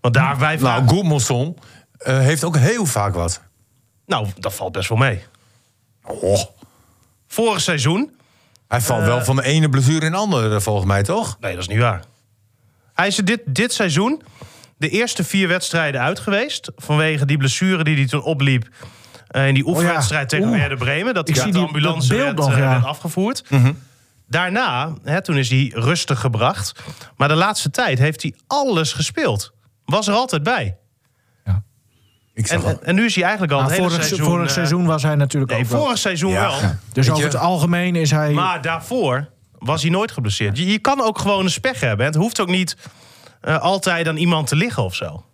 Want daar wij
Nou, Goedmonsson eh, heeft ook heel vaak wat.
nou, dat valt best wel mee.
Oh,
Vorig seizoen?
hij valt
Eh.
wel van de ene blessure in de andere, volgens mij toch?
Nee, dat is niet waar. Hij is er dit, dit seizoen de eerste vier wedstrijden uit geweest. Vanwege die blessure die hij toen opliep. eh, in die oefenwedstrijd tegen
Oh Oeh.
Werder Bremen. Dat hij
Ik
met
zie
de
die-
ambulance
dat beeld
werd,
nog,
eh,
ja. Mhm.
werd afgevoerd. Daarna, hè, toen is hij rustig gebracht. Maar de laatste tijd heeft hij alles gespeeld. Was er altijd bij.
Ik zag
En, en,
wel.
en nu is hij eigenlijk al
Nou,
het hele
vorig,
seizoen...
vorig
eh,
seizoen was hij natuurlijk
Nee,
ook wel.
vorig seizoen
Ja.
wel.
Dus
Weet
over
je-
het algemeen is hij...
Maar daarvoor was hij nooit geblesseerd. Je, je kan ook gewoon een spech hebben. Het hoeft ook niet eh, altijd aan iemand te liggen of zo.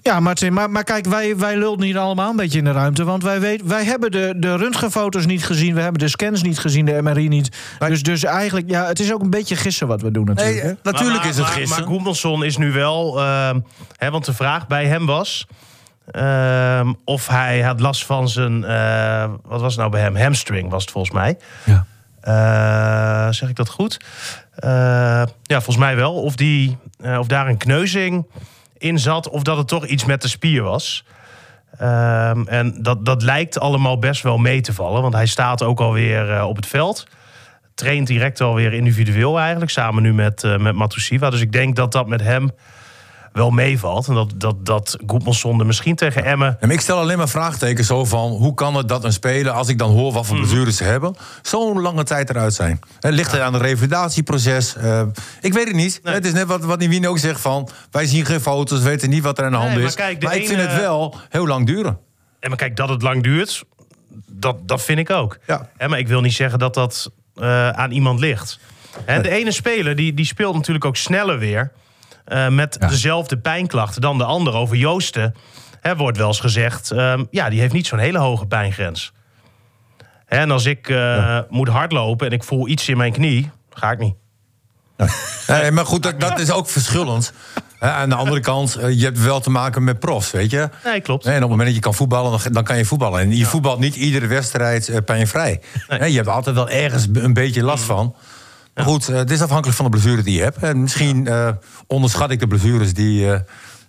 Ja, Martin, maar, maar kijk, wij, wij lulden hier allemaal een beetje in de ruimte. Want wij, weet, wij hebben de, de röntgenfoto's niet gezien, we hebben de scans niet gezien, de MRI niet. Dus, dus eigenlijk, ja, het is ook een beetje gissen wat we doen natuurlijk.
Nee,
hè.
eh, natuurlijk
Maar-
is het
maar-
gisteren.
Maar Goemelson is nu wel... ehm, hè, want de vraag bij hem was... ehm, of hij had last van zijn... eh, wat was het nou bij hem? Hamstring was het volgens mij.
Ja.
Eh, zeg ik dat goed? Eh, ja, volgens mij wel. Of, die, eh, of daar een kneuzing in zat, of dat het toch iets met de spier was. Ehm, en dat, dat lijkt allemaal best wel mee te vallen, want hij staat ook alweer eh, op het veld. Traint direct alweer individueel eigenlijk, samen nu met, eh met Matusiwa. Dus ik denk dat dat met hem wel meevalt. En dat, dat, dat Goedmanson er misschien tegen Emmen...
En ik stel alleen maar vraagtekens zo van... hoe kan het dat een speler, als ik dan hoor wat
Mhm.
voor blessures ze hebben... zo'n lange tijd eruit zijn? Hè, ligt het aan het revalidatieproces? Eh, ik weet het niet. Het is net wat, wat Niewien ook zegt van... wij zien geen foto's, weten niet wat er aan de hand
maar
is.
kijk, de
maar ik vind
ene-
het wel heel lang duren.
En maar kijk, dat het lang duurt, dat, dat vind ik ook.
Ja.
Hè, maar ik wil niet zeggen dat dat eh, aan iemand ligt. Hè, de ene speler die, die speelt natuurlijk ook sneller weer eh, met dezelfde pijnklachten dan de ander. Over Joosten hè, wordt wel eens gezegd, ehm, ja, die heeft niet zo'n hele hoge pijngrens. Hè, en als ik eh, moet hardlopen en ik voel iets in mijn knie, ga ik niet.
Nee, maar goed, dat, dat is ook verschillend. Hè, aan de andere kant, eh, je hebt wel te maken met profs, weet je?
Nee, klopt.
Hè, En op het moment dat je kan voetballen, dan, dan kan je voetballen. En je voetbalt niet iedere wedstrijd eh, pijnvrij. Hè, Je hebt altijd wel ergens b- een beetje last
Mm.
van. Maar goed, eh, het is afhankelijk van de blessure die je hebt. En misschien eh, onderschat ik de blessures die, eh,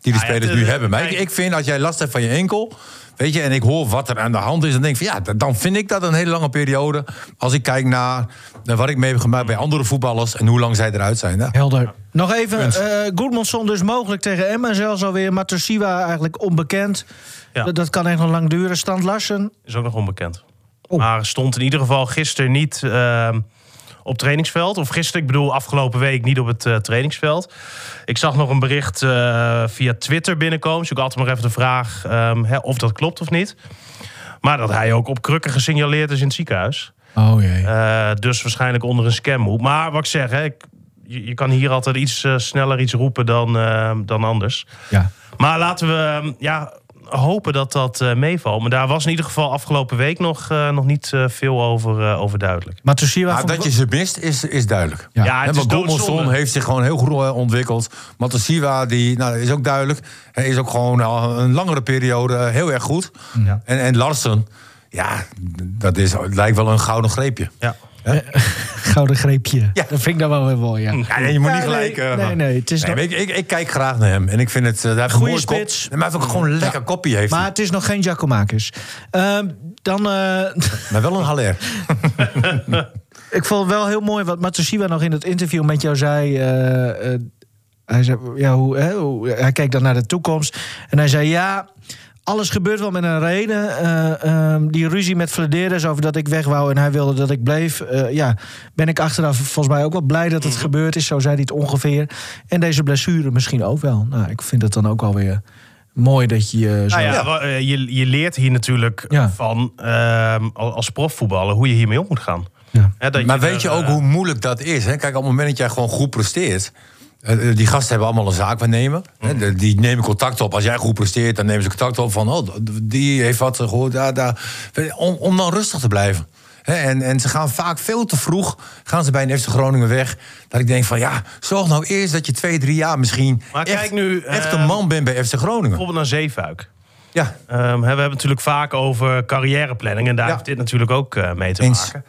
die de
Nou ja,
spelers
het- eh,
nu hebben. Maar ik,
kijk.
ik vind, als jij last hebt van je enkel... Weet je, en ik hoor wat er aan de hand is, dan denk ik van ja, d- dan vind ik dat een hele lange periode. Als ik kijk naar eh, wat ik mee heb gemaakt bij andere voetballers en hoe lang zij eruit zijn. Ja.
Helder. Nog even, eh Goedmanson dus mogelijk tegen Emma zelfs alweer. Matusiwa eigenlijk onbekend.
Ja.
Dat, dat kan echt nog lang duren. Stand Larsen.
Is ook nog onbekend.
Oh.
Maar stond in ieder geval gisteren niet ehm, op trainingsveld. Of gisteren, ik bedoel afgelopen week niet op het eh, trainingsveld. Ik zag nog een bericht eh, via Twitter binnenkomen. Dus ik had altijd maar even de vraag ehm, hè, of dat klopt of niet. Maar dat hij ook op krukken gesignaleerd is in het ziekenhuis.
Oh jee.
Eh, dus waarschijnlijk onder een scam moet. Maar wat ik zeg, hè, ik- je, je kan hier altijd iets eh, sneller iets roepen dan, ehm, dan anders.
Ja.
Maar laten we ehm, ja, hopen dat dat eh, meevalt. Maar daar was in ieder geval afgelopen week nog, eh, nog niet eh, veel over, eh, over duidelijk.
Matusiwa
Maar
vond ik
Nou, dat je ze mist, is, is duidelijk.
Ja,
Ja,
Hè,
het
maar
is
Goedmanson
doodzonde.
heeft zich gewoon heel goed eh, ontwikkeld. Matasiwa, die nou, is ook duidelijk. Hij is ook gewoon al een langere periode eh, heel erg goed.
Ja.
En, en Larsen, ja, dat is, lijkt wel een gouden greepje.
Ja.
gouden greepje.
Ja. Mm.
Dat vind ik dan wel weer mooi, ja.
Ja, nee, je moet
Ja,
niet gelijk...
nee,
eh,
nee,
maar-
nee, het is nog-
maar ik, ik, ik kijk graag naar hem. En ik vind het... eh, hij heeft een
Goeie
mooie kop.
spits.
Nee, maar hij heeft ook gewoon een lekker kopje heeft.
Maar
Maar,
het is nog geen Giacomakis. Ehm, dan, eh,
maar wel een haler.
Ik vond het wel heel mooi wat Matsushiwa nog in het interview met jou zei. eh, eh, hij zei, ja, hoe, hè, hoe, hij keek dan naar de toekomst. En hij zei, ja, alles gebeurt wel met een reden. Eh, ehm, die ruzie met Flederis over dat ik weg wou en hij wilde dat ik bleef. eh, ja, ben ik achteraf volgens mij ook wel blij dat het
Mhm.
gebeurd is. Zo zei hij het ongeveer. En deze blessure misschien ook wel. Nou, ik vind het dan ook alweer mooi dat je eh, zo...
Nou ja, wa- eh, je, je leert hier natuurlijk
Ja.
van ehm, al- als profvoetballer hoe je hiermee om moet gaan.
Ja.
Hè, dat
Maar
er,
weet je
eh,
ook hoe moeilijk dat is? Hè? Kijk, op het moment dat jij gewoon goed presteert. eh, eh, Die gasten hebben allemaal een zaakwaarnemer. hè,
Mm.
de- Die nemen contact op. Als jij goed presteert, dan nemen ze contact op van... Oh, d- die heeft wat gehoord. Daar, daar. Om, om dan rustig te blijven. Hè, En, en ze gaan vaak veel te vroeg gaan ze bij een FC Groningen weg. Dat ik denk van ja, zorg nou eerst dat je twee, drie jaar misschien...
Maar
echt,
kijk nu,
echt
eh,
een man bent bij FC Groningen.
Bijvoorbeeld naar Zeefuik.
Ja,
Ehm, hè, we hebben het natuurlijk vaak over carrièreplanning. En daar
Ja.
heeft dit natuurlijk ook eh, mee te
Eens.
maken.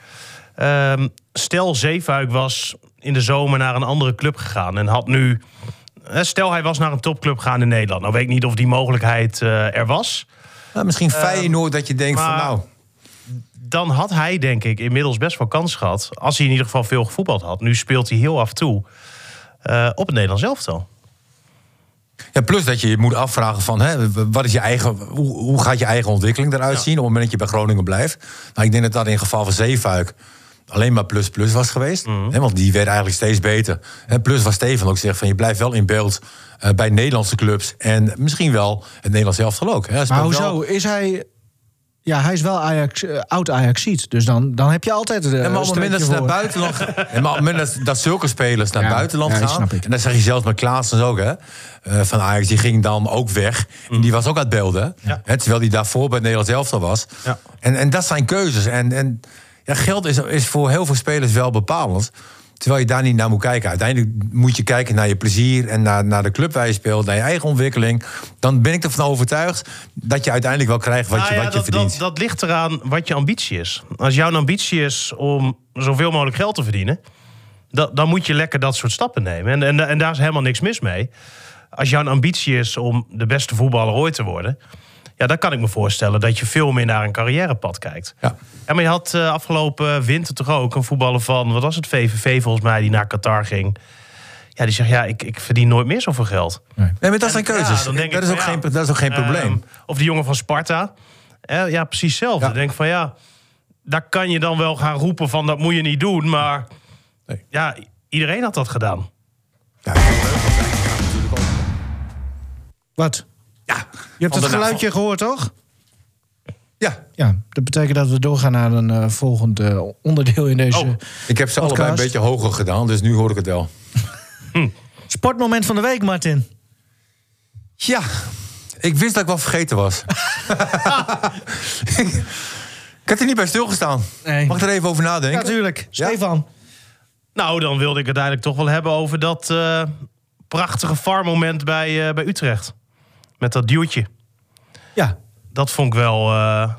Ehm, stel, Zeefuik was in de zomer naar een andere club gegaan. En had nu... hè, Stel, hij was naar een topclub gegaan in Nederland. Nou weet ik niet of die mogelijkheid eh, er was.
nou, misschien Feyenoord dat je denkt van
Ehm, maar-
nou...
Dan had hij, denk ik, inmiddels best wel kans gehad. Als hij in ieder geval veel gevoetbald had. Nu speelt hij heel af en toe eh, op het Nederlands elftal.
Ja, plus dat je je moet afvragen van, hè, wat is je eigen, hoe, hoe gaat je eigen ontwikkeling eruit zien op het moment dat je bij Groningen blijft? Nou, ik denk dat dat in het geval van Zeefuik alleen maar plus plus was geweest.
Mhm.
Hè, want die werd eigenlijk steeds beter. En plus wat Steven ook zegt, van je blijft wel in beeld eh, bij Nederlandse clubs. En misschien wel het Nederlands elftal ook. Hè. Hij
Maar
speelt wel-
hoezo? Is hij... Ja, hij is wel Ajax, eh, oud Ajaxiet. Dus dan, dan heb je altijd de
En maar op het moment dat ze naar buitenland
(laughs)
gaan- En maar op het moment dat, dat zulke spelers naar
Ja,
buitenland
ja, dat
gaan.
snap ik.
En dat zeg je zelfs met Klaassen ook, hè? eh, van Ajax, die ging dan ook weg. En die was ook uit beelden.
Ja.
Hè, terwijl die daarvoor bij het Nederlands elftal was.
Ja.
En, en dat zijn keuzes. En, en ja, geld is, is voor heel veel spelers wel bepalend. Terwijl je daar niet naar moet kijken. Uiteindelijk moet je kijken naar je plezier en naar, naar de club waar je speelt, naar je eigen ontwikkeling. Dan ben ik ervan overtuigd dat je uiteindelijk wel krijgt wat je,
Nou ja,
wat je
dat,
verdient.
Dat, dat ligt eraan wat je ambitie is. Als jouw ambitie is om zoveel mogelijk geld te verdienen, da- dan moet je lekker dat soort stappen nemen. En, en, en daar is helemaal niks mis mee. Als jouw ambitie is om de beste voetballer ooit te worden, ja, dan kan ik me voorstellen dat je veel meer naar een carrièrepad kijkt.
Ja.
En maar je had eh, afgelopen winter toch ook een voetballer van, wat was het, VVV volgens mij, die naar Qatar ging. Ja, die zegt, ja, ik, ik verdien nooit meer zoveel geld.
Nee, maar dat zijn keuzes.
Ja, dan denk
dat,
ik
is ook
van, ja,
geen, dat is ook geen probleem.
ehm, of die jongen van Sparta. Eh, ja, precies hetzelfde.
Ja.
Ik denk van ja, daar kan je dan wel gaan roepen van dat moet je niet doen. Maar
Nee.
ja, iedereen had dat gedaan.
Wat?
Ja.
Je hebt
Van
het
de
geluidje gehoord, toch?
Ja,
Ja, dat betekent dat we doorgaan naar een eh, volgend eh, onderdeel in deze
Oh.
ik heb ze allebei een
Podcast.
beetje hoger gedaan, dus nu hoor ik het wel.
sportmoment van de week, Martin.
Ja, ik wist dat ik wel vergeten (laughs) was. ik had er niet bij stilgestaan.
Nee.
Mag ik er even over nadenken?
Natuurlijk,
Ja.
Stefan.
(laughs)
Nou, dan wilde ik het eigenlijk toch wel hebben over dat eh, prachtige farmoment bij, eh, bij Utrecht. Met dat duwtje.
Ja,
Dat vond ik wel, eh,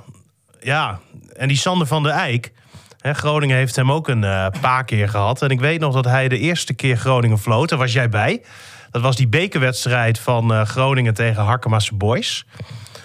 ja. En die Sander van der Eijk. Hè, Groningen heeft hem ook een eh, paar keer gehad. En ik weet nog dat hij de eerste keer Groningen floot. Daar was jij bij. Dat was die bekerwedstrijd van eh, Groningen tegen Harkema's Boys.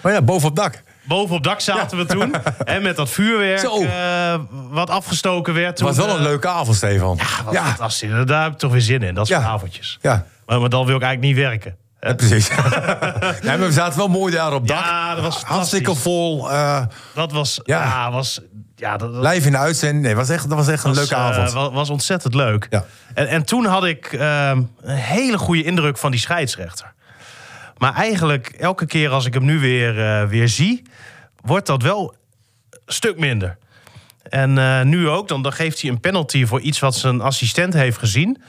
Maar ja, boven op dak.
Boven op dak zaten we toen. En met dat vuurwerk
Zo.
eh, wat afgestoken werd.
Het was wel
eh,
een leuke avond, Stefan. Ja,
was
ja.
Fantastisch. Daar heb ik toch weer zin in. Dat soort
Ja.
avondjes.
ja.
Maar, maar dan wil ik eigenlijk niet werken.
Ja, precies. (laughs) nee, maar we zaten wel mooi daar op dak.
Ja, dat was
Hartstikke
fantastisch.
vol. eh,
Dat was... Ja,
Ja.
was, ja dat, dat-
live in de uitzending. Nee, was echt, dat was echt een leuke
was, eh,
avond.
wa- was ontzettend leuk.
Ja.
En, en toen had ik ehm, een hele goede indruk van die scheidsrechter. Maar eigenlijk, elke keer als ik hem nu weer, eh, weer zie, wordt dat wel een stuk minder. En eh, nu ook, dan, dan geeft hij een penalty voor iets wat zijn assistent heeft gezien.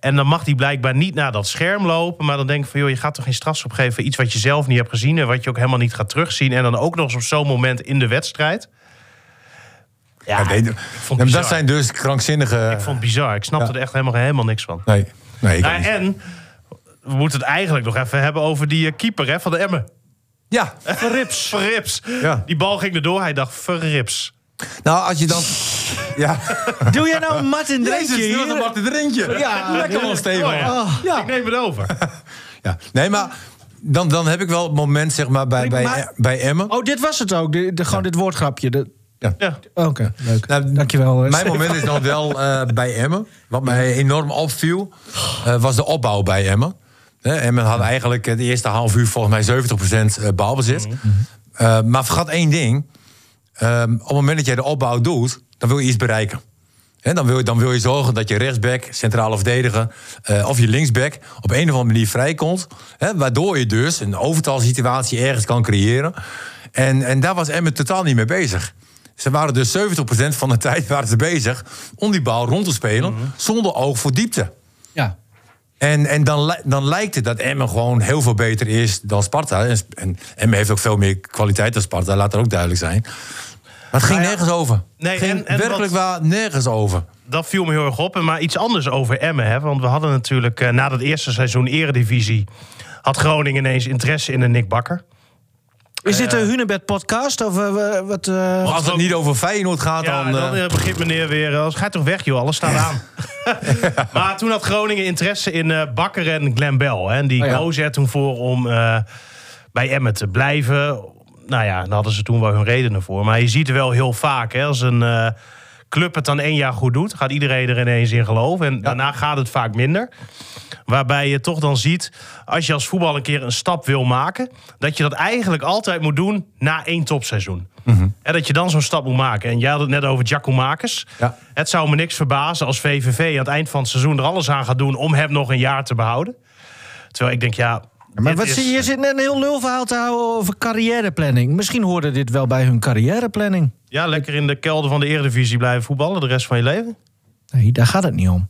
En dan mag hij blijkbaar niet naar dat scherm lopen. Maar dan denk ik van, joh, je gaat toch geen strafschop geven... voor iets wat je zelf niet hebt gezien en wat je ook helemaal niet gaat terugzien. En dan ook nog eens op zo'n moment in de wedstrijd. Ja,
Ja, nee,
Ah, ik vond het
dat
bizar.
zijn dus krankzinnige...
Ik vond het bizar. Ik snapte
Ja.
er echt helemaal, helemaal niks van.
Nee, nee ik ook
Nou,
niet.
en we moeten het eigenlijk nog even hebben over die eh, keeper hè, van de Emmen.
Ja,
Verrips. (laughs) Verrips.
Ja.
Die bal ging erdoor. Hij dacht, verrips.
nou als je
(laughs)
dan... Ja.
doe jij nou een Martin Drenkje
Jezus, wat een
hier?
Martin Drinkje.
Ja,
(laughs) lekker man,
heerlijk.
Steven.
Oh, ja.
Oh,
Ik neem het
(laughs)
over.
Ja. Nee, maar dan, dan heb ik wel het moment zeg maar, bij, bij,
Maar-
bij Emmen.
Oh, dit was het ook. De, de- gewoon dit woordgrapje. De-
Ja.
Ja.
Oké, leuk.
Nou,
Dankjewel. eh,
Mijn
Stefan.
moment is dan wel eh, bij Emmen. Wat mij enorm opviel, eh, was de opbouw bij Emmen. Hè, En men had eigenlijk het eerste half uur volgens mij 70% balbezit.
Mhm.
Eh, maar vergat één ding. Ehm, op het moment dat jij de opbouw doet, dan wil je iets bereiken. Hè, dan, wil je, dan wil je zorgen dat je rechtsback, centrale verdediger eh, of je linksback op een of andere manier vrijkomt. Hè, waardoor je dus een overtalsituatie ergens kan creëren. En, en daar was Emmen totaal niet mee bezig. Ze waren dus 70% van de (laughs) tijd waren ze bezig om die bal rond te spelen zonder oog voor diepte.
Ja.
En, en dan, li- dan lijkt het dat Emmen gewoon heel veel beter is dan Sparta. En, Sp- en Emmen heeft ook veel meer kwaliteit dan Sparta, laat dat ook duidelijk zijn. Maar het ging
Nou ja,
nergens over.
nee,
het ging
en- en
werkelijk
wat-
waar nergens over.
dat viel me heel erg op. En Maar iets anders over Emmen. Hè? Want we hadden natuurlijk eh, na dat eerste seizoen Eredivisie... had Groningen ineens interesse in een Nick Bakker.
Eh,
Is dit een Hunebed podcast? Of eh, wa- wat. eh,
Maar als het niet over Feyenoord gaat,
Ja,
dan...
dan,
eh,
eh, begint meneer weer... eh, ga toch weg, joh, alles staat aan. (laughs) maar toen had Groningen interesse in eh, Bakker en Glen Bell. Hè? En die
Oh ja.
kozen er toen voor om eh, bij Emmen te blijven. Nou ja, daar hadden ze toen wel hun redenen voor. Maar je ziet er wel heel vaak, hè, als een... eh, Club het dan één jaar goed doet, gaat iedereen er ineens in geloven. En daarna gaat het vaak minder. Waarbij je toch dan ziet, als je als voetbal een keer een stap wil maken, dat je dat eigenlijk altijd moet doen na één topseizoen.
Mhm.
En dat je dan zo'n stap moet maken. En jij had het net over Giacomakis.
Ja.
Het zou me niks verbazen als VVV aan het eind van het seizoen er alles aan gaat doen om hem nog een jaar te behouden. Terwijl ik denk, ja.
maar
dit
wat
is-
zie je? Je zit net een heel lulverhaal te houden over carrièreplanning. Misschien hoorde dit wel bij hun carrièreplanning.
Ja, lekker in de kelder van de Eredivisie blijven voetballen de rest van je leven.
Nee, daar gaat het niet om.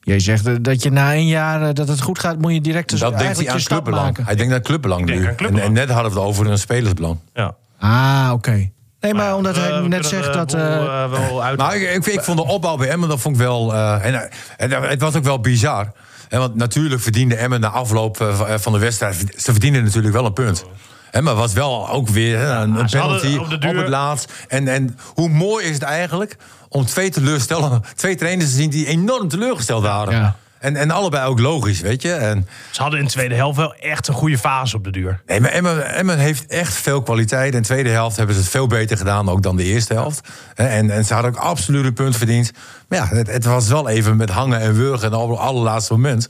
Jij zegt eh, dat je na een jaar eh, dat het goed gaat, moet je direct dus
dat denkt hij
eigenlijk
aan
je stap
clubbelang.
maken.
Hij denkt aan clubbelang
denk
nu.
aan clubbelang.
En, en net hadden we het over een spelersbelang.
Ja.
Ah, oké. Nee, maar
Nou ja,
omdat
we-
hij
we
net
kunnen
zegt
er,
dat.
eh,
eh,
wel, eh, wel uit.
Nou, ik, ik, ik vond de opbouw bij Emmen, dat vond ik wel... eh, en, en het was ook wel bizar. Hè, want natuurlijk verdiende Emmen na afloop eh, van- eh, van de wedstrijd... Ze verdienden natuurlijk wel een punt. Hè, maar was wel ook weer hè, een, een
ze hadden
penalty
op
op,
de duur-
het laatst. En, en hoe mooi is het eigenlijk om twee teleurstellen... twee trainers te zien die enorm teleurgesteld waren.
Ja.
En, en allebei ook logisch, weet je. En,
Ze hadden in de tweede helft wel echt een goede fase op de
(laughs)
duur.
Nee, maar Emmen, Emmen heeft echt veel kwaliteit. In de tweede helft hebben ze het veel beter gedaan ook dan de eerste helft. Hè, En, en ze hadden ook absoluut een punt verdiend. Maar ja, het, het was wel even met hangen en wurgen en op het allerlaatste moment.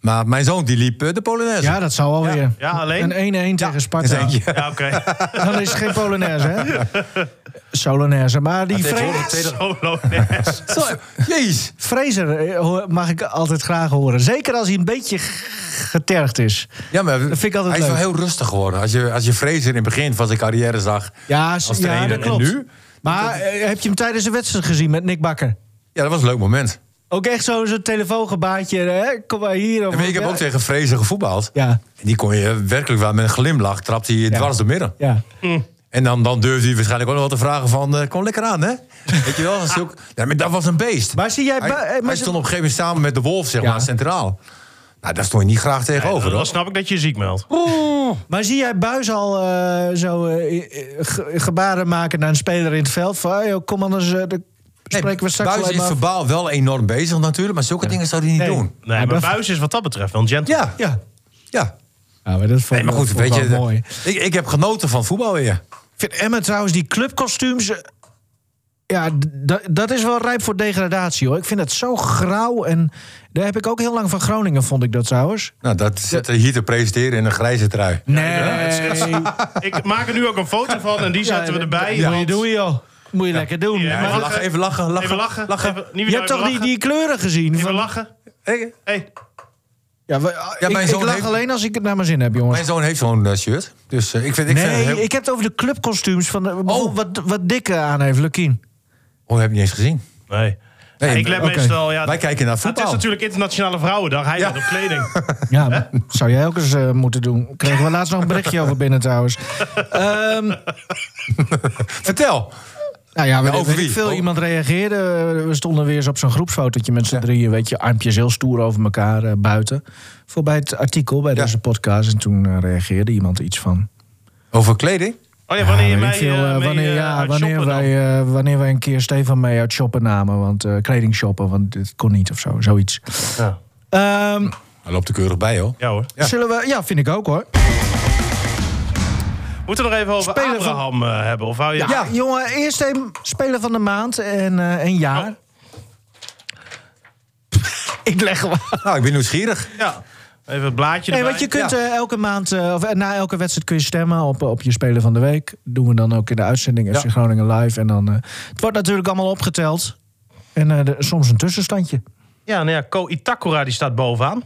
Maar mijn zoon die liep eh, de Polonaise.
ja, dat zou alweer.
ja, alleen?
Een 1-1 tegen Sparta.
Denk je? (laughs)
Ja,
(laughs)
oké. (laughs)
Dan is het geen Polonaise, hè? Solonaise. Maar die
tegenwoordig-
Fre-
Solo
(laughs)
Nes.
Zo, Jeez.
Fraser eh, ho- mag ik altijd graag horen. Zeker als hij een beetje g- getergd is.
Ja, maar
Dat vind ik altijd
hij is wel
leuk.
heel rustig geworden. Als je, als je Fraser in het begin van zijn carrière zag
Ja, s-
als
ja,
trainer
dat klopt.
en nu...
Maar eh, heb je hem tijdens de wedstrijd gezien met Nick Bakker?
Ja, dat was een leuk moment.
Ook echt zo'n zo'n telefoongebaartje. Hè? Kom maar hier. Of
En ik heb ook tegen Fraser gevoetbald.
Ja,
En die kon je werkelijk wel met een glimlach... trapte hij je dwars door midden.
ja.
En dan, dan durfde hij waarschijnlijk ook nog wel te vragen van... eh, kom lekker aan,
(laughs)
hè? Weet je wel? Dat, is ook, ja, maar dat was een beest.
Maar zie jij...
hij,
ba- eh,
hij
maar
stond op een gegeven moment samen met de wolf, zeg
Ja.
maar, centraal. Nou, daar stond je niet graag tegenover,
Dan
hoor.
snap ik dat je je ziek meldt.
Maar zie jij Buis al eh, zo eh, eh, ge- gebaren maken naar een speler in het veld? Van, hey, joh, kom anders, eh, de-
Nee,
spreken we straks
Buijs
wel
is
even af.
verbaal wel enorm bezig natuurlijk... maar zulke dingen zou hij niet
Nee.
doen.
Nee,
Ja,
maar
dat-
Buis is wat dat betreft wel een gentleman.
Ja,
Ja.
ja.
Ja, maar dat vond,
Nee, maar goed,
dat vond
weet
ik
je...
wel mooi.
Ik, ik heb genoten van voetbal weer.
Ik vind Emma trouwens, die clubkostuums... eh, Ja, d- dat- dat is wel rijp voor degradatie, hoor. Ik vind dat zo grauw. En daar heb ik ook heel lang van Groningen, vond ik dat trouwens.
Nou, dat zit hier te presenteren in een grijze trui.
Nee.
Ik maak er nu ook een foto van en die zetten we erbij.
Ja, moet je
want-
doen, joh. Moet je lekker doen.
Ja,
Maar
Even lachen, even lachen, lachen.
Even lachen. Even- niet
je
weer
hebt toch
even
die,
lachen.
die kleuren gezien?
Even
Van,
lachen.
Hey,
Hey.
ja, we-
Ja,
ik,
mijn
ik
zoon
lach
heeft-
alleen als ik het naar mijn zin heb, jongens.
Mijn zoon heeft zo'n eh, shirt. Dus eh, ik vind... Ik vind
nee,
heel-
ik Oh. heb het over de clubkostuums van de, wat, wat Dikke aan heeft, Lukien.
Oh, heb je niet eens gezien.
Nee.
Nee,
Ja, ik let
oké.
meestal... Ja,
Wij kijken naar
Het is
voetbal.
natuurlijk Internationale Vrouwendag. Hij gaat op
(laughs)
kleding. Oh
Ja, maar zou jij ook eens eh, moeten doen. Kregen we laatst nog een berichtje over binnen
(laughs)
trouwens. Ehm,
Vertel.
nou ja, we
over
weet
wie?
ik veel.
Oh.
Iemand reageerde. eh, We stonden weer eens op zo'n groepsfotootje met z'n drieën. Weet je, armpjes heel stoer over elkaar eh, buiten. Voorbij het artikel bij
Ja.
deze podcast. En toen eh, reageerde iemand iets van...
Over kleding?
Oh ja, wanneer je
weet
mij
ik veel, eh,
eh, mee,
wanneer,
eh,
ja,
uit
wanneer,
shoppen dan?
wij, eh, wanneer wij een keer Stefan mee uit shoppen namen. Want eh, kleding shoppen, want dit kon niet of zo. Zoiets.
Ja.
Ehm,
Hij loopt er keurig bij, hoor.
Ja hoor.
Zullen we... Ja, vind ik ook hoor.
We moeten nog even over
Speler van-
Abraham eh, hebben. Of hou je...
Ja, jongen, eerst een speler van de maand en eh, een jaar.
Oh.
(laughs) Ik leg hem aan.
Nou, ik ben nieuwsgierig.
Ja. Even het blaadje
Nee,
erbij.
want je kunt
Ja.
eh, elke maand, eh, of eh, na elke wedstrijd kun je stemmen op, eh, op je speler van de week. Doen we dan ook in de uitzending FC
Ja.
Groningen live. En dan, eh, het wordt natuurlijk allemaal opgeteld. En eh, er- soms een tussenstandje.
Ja, nou ja, Ko Itakura die staat bovenaan.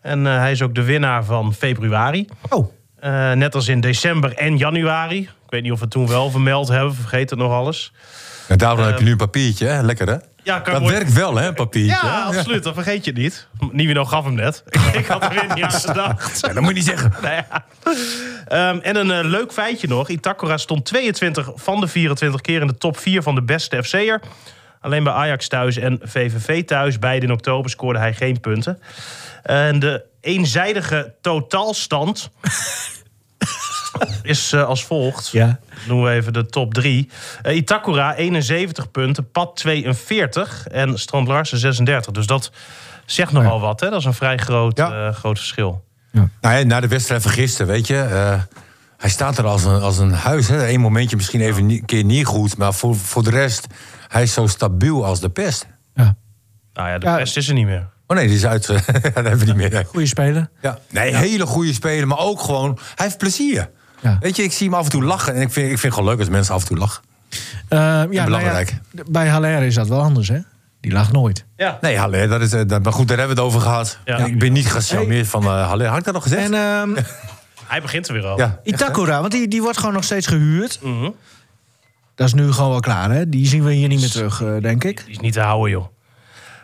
En eh, hij is ook de winnaar van februari.
Oh,
Eh, net als in december en januari. Ik weet niet of we het toen wel vermeld hebben, vergeet het nog alles.
En daarom heb je nu een papiertje, hè? Lekker, hè?
Ehm, Ja, kan
dat
mooi-
werkt wel, hè, een papiertje.
Ja,
hè?
absoluut, dat vergeet je niet. Nivino gaf hem net. (laughs) Ik had er weer niet aan gedacht.
Ja, dat moet je niet zeggen.
Nou (laughs) ja. Ehm, en een eh, leuk feitje nog. Itakura stond 22 van de 24 keer in de top 4 van de beste FC'er. Alleen bij Ajax thuis en VVV thuis, beide in oktober, scoorde hij geen punten. En de eenzijdige totaalstand is eh, als volgt.
ja.
Doen we even de top 3. Itakura 71 punten, Pat 42 en Strand Larsen 36. Dus dat zegt nogal wat. Hè? Dat is een vrij groot,
Ja.
eh, groot verschil.
Nou, ja, na de wedstrijd van gisteren, weet je. eh, hij staat er als een, als een huis. Hè. Eén momentje misschien even nie- een keer niet goed. Maar voor, voor de rest, hij is zo stabiel als de pest.
ja.
Nou ja, de
Ja.
rest is er niet meer.
Oh nee, die is uit. (laughs) dat hebben we niet meer. nee.
Goeie speler.
Ja. Nee, hele goede speler. Maar ook gewoon, hij heeft plezier.
Ja.
Weet je, ik zie hem af en toe lachen. En ik vind, ik vind het gewoon leuk als mensen af en toe lachen.
Eh, ja, nou ja,
belangrijk.
d- bij Haller is dat wel anders, hè? Die lag nooit.
Ja.
Nee, Haller, dat is, eh, dat, maar goed, daar hebben we het over gehad.
Ja.
En Ik ben niet gecharmeerd van eh Haller. Had ik dat nog gezegd?
En ehm,
Hij begint er weer al.
ja.
Itakura, want die, die wordt gewoon nog steeds gehuurd. Dat is nu gewoon wel klaar, hè? Die zien we hier niet meer terug, eh, denk ik.
Die is niet te houden, joh.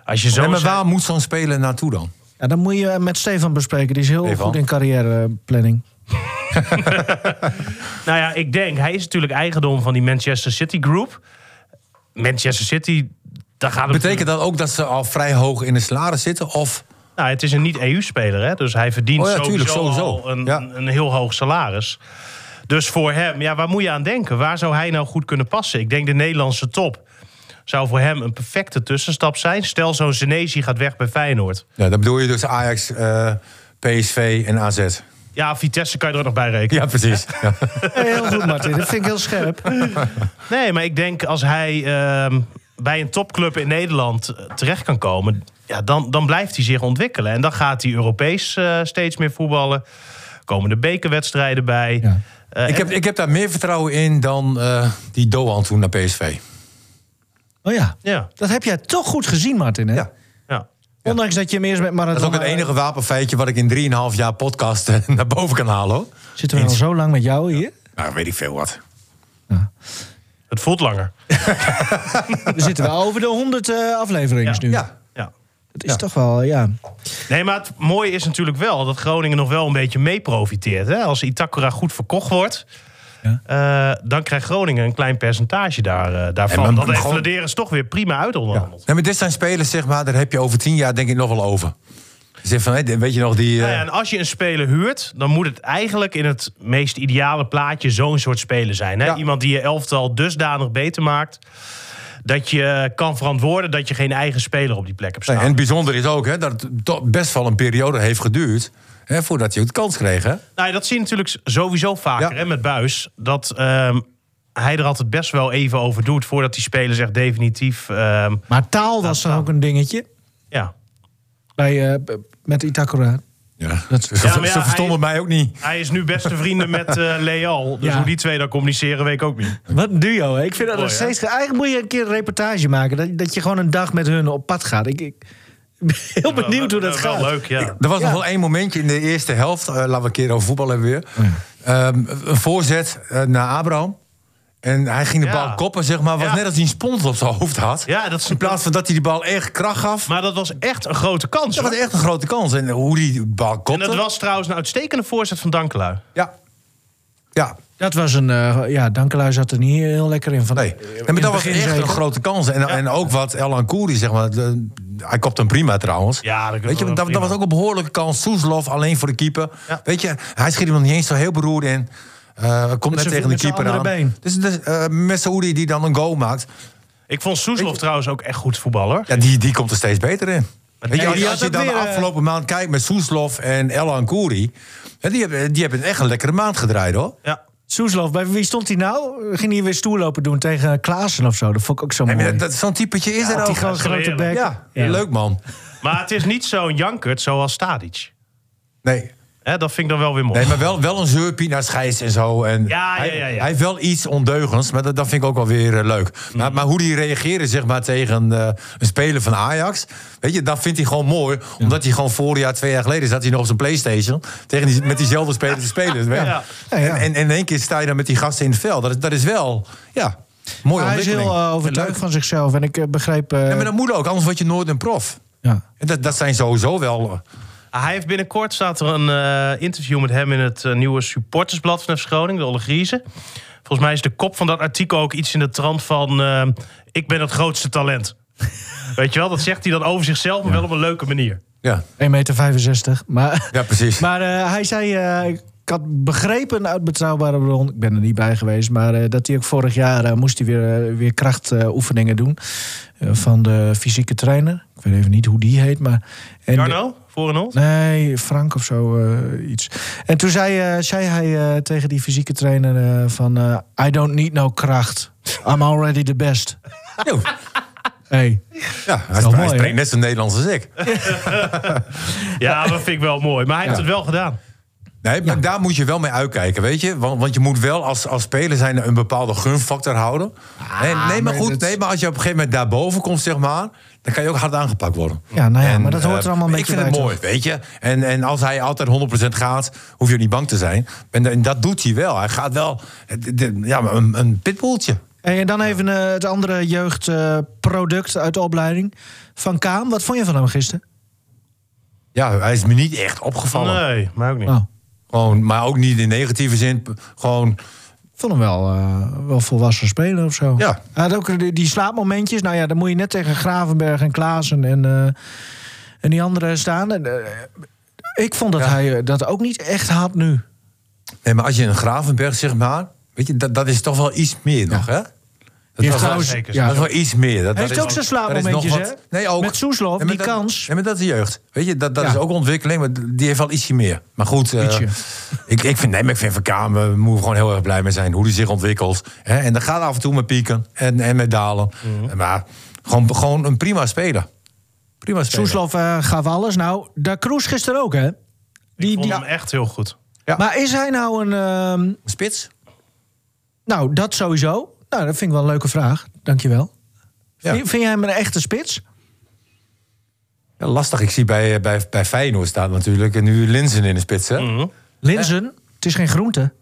Als je zo
Nee, maar
zei-
waar moet zo'n speler naartoe dan?
Ja, dat moet je eh, met Stefan bespreken. Die is heel
Stefan.
goed in carrièreplanning.
Nou ja, ik denk, hij is natuurlijk eigendom van die Manchester City Group. Manchester City, daar gaat het...
Betekent dat ook dat ze al vrij hoog in de salaris zitten? Of
Nou, het is een niet-EU-speler, hè? Dus hij verdient
Oh ja,
sowieso,
tuurlijk, sowieso.
al een,
Ja.
een, een heel hoog salaris. Dus voor hem, ja, waar moet je aan denken? Waar zou hij nou goed kunnen passen? Ik denk de Nederlandse top zou voor hem een perfecte tussenstap zijn. Stel, zo'n Senesi gaat weg bij Feyenoord.
ja, dat bedoel je dus Ajax, eh, PSV en AZ?
Ja, Vitesse kan je er ook nog bij rekenen.
Ja, precies. (laughs) Ja.
Heel goed, Martin. Dat vind ik heel scherp.
Nee, maar ik denk als hij ehm, bij een topclub in Nederland eh, terecht kan komen, ja, dan, dan blijft hij zich ontwikkelen. En dan gaat hij Europees eh, steeds meer voetballen. Komen de bekerwedstrijden bij.
Ja.
Eh,
ik, heb, ik heb daar meer vertrouwen in dan eh, die Doan toen naar PSV.
Oh ja.
ja,
Dat heb jij toch goed gezien, Martin, hè?
Ja.
ja.
Ondanks dat je hem eerst met Maradona...
Dat is ook het enige wapenfeitje wat ik in 3,5 jaar podcast eh, (laughs) naar boven kan halen. Hoor.
Zitten we al zo lang met jou hier?
Nou, weet ik veel wat.
Het voelt langer.
We zitten wel over de 100 eh, afleveringen
Ja.
nu.
Ja.
Ja.
Dat is toch wel, ja.
Nee, maar het mooie is natuurlijk wel dat Groningen nog wel een beetje mee profiteert. Hè? Als Itakura goed verkocht wordt,
Ja.
eh, dan krijgt Groningen een klein percentage daar, eh, daarvan.
En
En
dan-
dat
gewoon-
exploderen is toch weer prima uit onderhandeld.
Nee, maar dit zijn spelers, zeg maar, daar heb je over 10 jaar denk ik nog wel over. Je zegt van, hé, weet je nog die... eh,
Nou ja, en als je een speler huurt, dan moet het eigenlijk in het meest ideale plaatje zo'n soort speler zijn. Hè?
Ja.
Iemand die je elftal dusdanig beter maakt. Dat je kan verantwoorden dat je geen eigen speler op die plek hebt
Nee,
staan.
en het bijzonder is ook hè, dat het toch best wel een periode heeft geduurd... Hè, voordat hij ook de kans kreeg. Hè?
Nou, ja, dat zie je natuurlijk sowieso vaker
Ja.
hè, met Buis. Dat ehm, hij er altijd best wel even over doet voordat die speler zegt definitief. ehm,
Maar taal was dan ook een dingetje.
ja.
Bij, eh, b- met Itakura.
Ja.
Dat-
ze
Ja, maar ja,
ze verstonden mij ook niet.
Hij is nu beste vrienden met eh, Leal. Dus
Ja.
hoe die twee dan communiceren, weet ik ook niet.
Wat een duo, hè? Ik vind dat
Mooi,
nog steeds... Eigenlijk moet je een keer een reportage maken. Dat, dat je gewoon een dag met hun op pad gaat. Ik, (laughs) ik ben heel benieuwd hoe dat
wel
gaat.
leuk, ja.
Er was
Ja.
nog wel één momentje in de eerste helft. eh, laten we een keer over voetbal hebben weer.
Oh
Ehm, een voorzet eh, naar Abraham. En hij ging de
Ja.
bal koppen, zeg maar. Was
Ja.
net als hij een spons op zijn hoofd had.
Ja, dat is-
In plaats van dat hij die bal echt kracht gaf.
Maar dat was echt een grote kans.
Dat
hoor.
was echt een grote kans. En hoe die bal
En
kopte.
dat was trouwens een uitstekende voorzet van Dankelui.
Ja. Ja,
Dat was een... eh, ja, Dankelui zat er niet heel lekker in. Van,
nee. En maar
het
dat was
begin
echt
zeker.
een grote kans. En, en ook wat Elan Koeri, zeg maar. de- hij kopte hem prima trouwens.
Ja, dat-
Weet je, dat, dat
prima.
was ook een behoorlijke kans. Soeslof alleen voor de keeper.
Ja.
Weet je, hij schiet hem nog niet eens zo heel beroerd in. Eh, komt net
zijn-
tegen de
met zijn
keeper aan.
andere been.
Dus dus, eh, Messaoudi die dan een goal maakt.
Ik vond Soeslof trouwens ook echt goed voetballer.
Ja, die, die komt er steeds beter in. Weet je,
die
als,
had
als je
ook
dan de
weer, eh,
afgelopen maand kijkt met Soeslof en Elan Koeri. hè, Die hebben, die hebben echt een lekkere maand gedraaid hoor.
Ja.
Soeslof, bij wie stond hij nou? Ging hij weer stoer lopen doen tegen Klaassen of zo? Dat vond ik ook zo
En
mooi.
dat- dat- Zo'n typetje is er
die
ook.
gewoon
is wel
grote
heerlijk.
bek.
Ja, leuk man.
Maar het is niet zo'n jankert zoals Stadic.
Nee,
Hè, dat vind ik dan wel weer
Oh.
mooi.
nee maar wel, wel een zeurpie naar Schijs en zo. En
Ja, ja,
hij,
ja, ja.
hij heeft wel iets ondeugends, maar dat, dat vind ik ook wel weer eh, leuk.
Mhm.
Maar, maar hoe die reageren zeg maar, tegen eh, een speler van Ajax... Weet je, dat vindt hij gewoon mooi. Omdat hij gewoon vorig jaar, twee jaar geleden... zat hij nog op zijn Playstation tegen die, met diezelfde speler te spelen.
Ja.
Ja, ja.
En, en in één keer sta je dan met die gasten in het veld. Dat, is- dat is wel, ja, mooi
hij is heel
ontwikkeling.
eh, overtuigd van zichzelf. En ik eh, begreep... eh,
Ja, maar dat moet ook, anders word je nooit een prof.
ja.
En Dat, dat zijn sowieso wel... eh,
Hij heeft binnenkort staat er een eh, interview met hem in het eh, nieuwe supportersblad van FC Groningen, de Olle Volgens mij is de kop van dat artikel ook iets in de trant van eh, ik ben het grootste
(laughs)
talent. Weet je wel, dat zegt hij dan over zichzelf, maar wel op een leuke manier.
ja,
1,65 meter. Maar,
ja, precies.
(laughs) maar eh, hij zei, eh, ik had begrepen uit betrouwbare bron, ik ben er niet bij geweest, maar eh, dat hij ook vorig jaar eh, moest hij weer, eh, weer krachtoefeningen doen eh, van de fysieke trainer. Ik weet even niet hoe die heet, maar... en-
Jarno, voor en ons?
Nee, Frank of zo, eh, iets. En toen zei, eh, zei hij eh, tegen die fysieke trainer eh, van... eh, I don't need no kracht. I'm already the best. (laughs)
Yo.
Hey.
Ja, hij,
wel
spra- hij
mooi,
spreekt
hè?
net zo Nederlands als ik.
Ja, dat vind ik wel mooi. Maar hij heeft het wel gedaan.
Nee, maar daar moet je wel mee uitkijken, weet je? Want, want je moet wel als, als speler zijn een bepaalde gunfactor houden. nee, nee, maar
Ah, maar
goed,
dat-
nee, maar als je op een gegeven moment daarboven komt, zeg maar... dan kan je ook hard aangepakt worden.
Ja, nou ja,
En,
maar dat hoort er
eh,
allemaal een
Ik
beetje
vind het
bij,
mooi, weet je? En, en als hij altijd 100% gaat, hoef je ook niet bang te zijn. En, en dat doet hij wel. Hij gaat wel... het- het- Ja, maar een, een pitbulltje.
Hey, en dan even eh, het andere jeugdproduct uit de opleiding. Van Kaam, wat vond je van hem gisteren?
Ja, hij is me niet echt opgevallen.
Nee, maar ook niet.
Nou,
Gewoon, maar ook niet in negatieve zin. p- Gewoon,
vond hem wel, eh, wel volwassen spelen of zo.
Ja.
Hij had ook die, die slaapmomentjes. Nou ja, dan moet je net tegen Gravenberg en Klaassen en, eh, en die anderen staan. En, eh, ik vond dat
Ja.
hij eh, dat ook niet echt had nu.
nee, maar als je een Gravenberg, zeg maar... Weet je, dat, dat is toch wel iets meer nog, hè? Dat
heeft
was-
trouwens-
zeker
ja.
Dat is wel iets meer. Dat,
Hij
dat
heeft
is-
ook zijn
dat is nog
slaapmomentjes, hè?
wat- Nee, ook.
Met Soeslof,
Nee, maar
die
dat-
kans.
Nee, maar dat is de jeugd. Weet je, dat, dat
Ja.
is ook ontwikkeling, maar die heeft wel ietsje meer. Maar goed, eh,
Ietsje.
ik, ik vind, nee, maar ik vind Van Kamer, we moeten gewoon heel erg blij mee zijn. Hoe die zich ontwikkelt. Hè? En dat gaat af en toe met pieken en, en met dalen.
Mhm.
Eh, Maar gewoon, gewoon een prima speler. Prima speler.
Soeslof eh, gaf alles. Nou, Da Cruz gisteren ook, hè? Die,
Ik vond
die,
hem echt heel goed.
ja.
Maar is hij nou een... ehm,
Spits?
Nou, dat sowieso. Nou, dat vind ik wel een leuke vraag. Dankjewel.
Ja.
Vind, vind jij hem een echte spits?
Ja, lastig. Ik zie bij, eh, bij, bij Feyenoord staat natuurlijk en nu Linzen in de spits. Hè?
Mhm. Linzen, Eh, het is geen groente.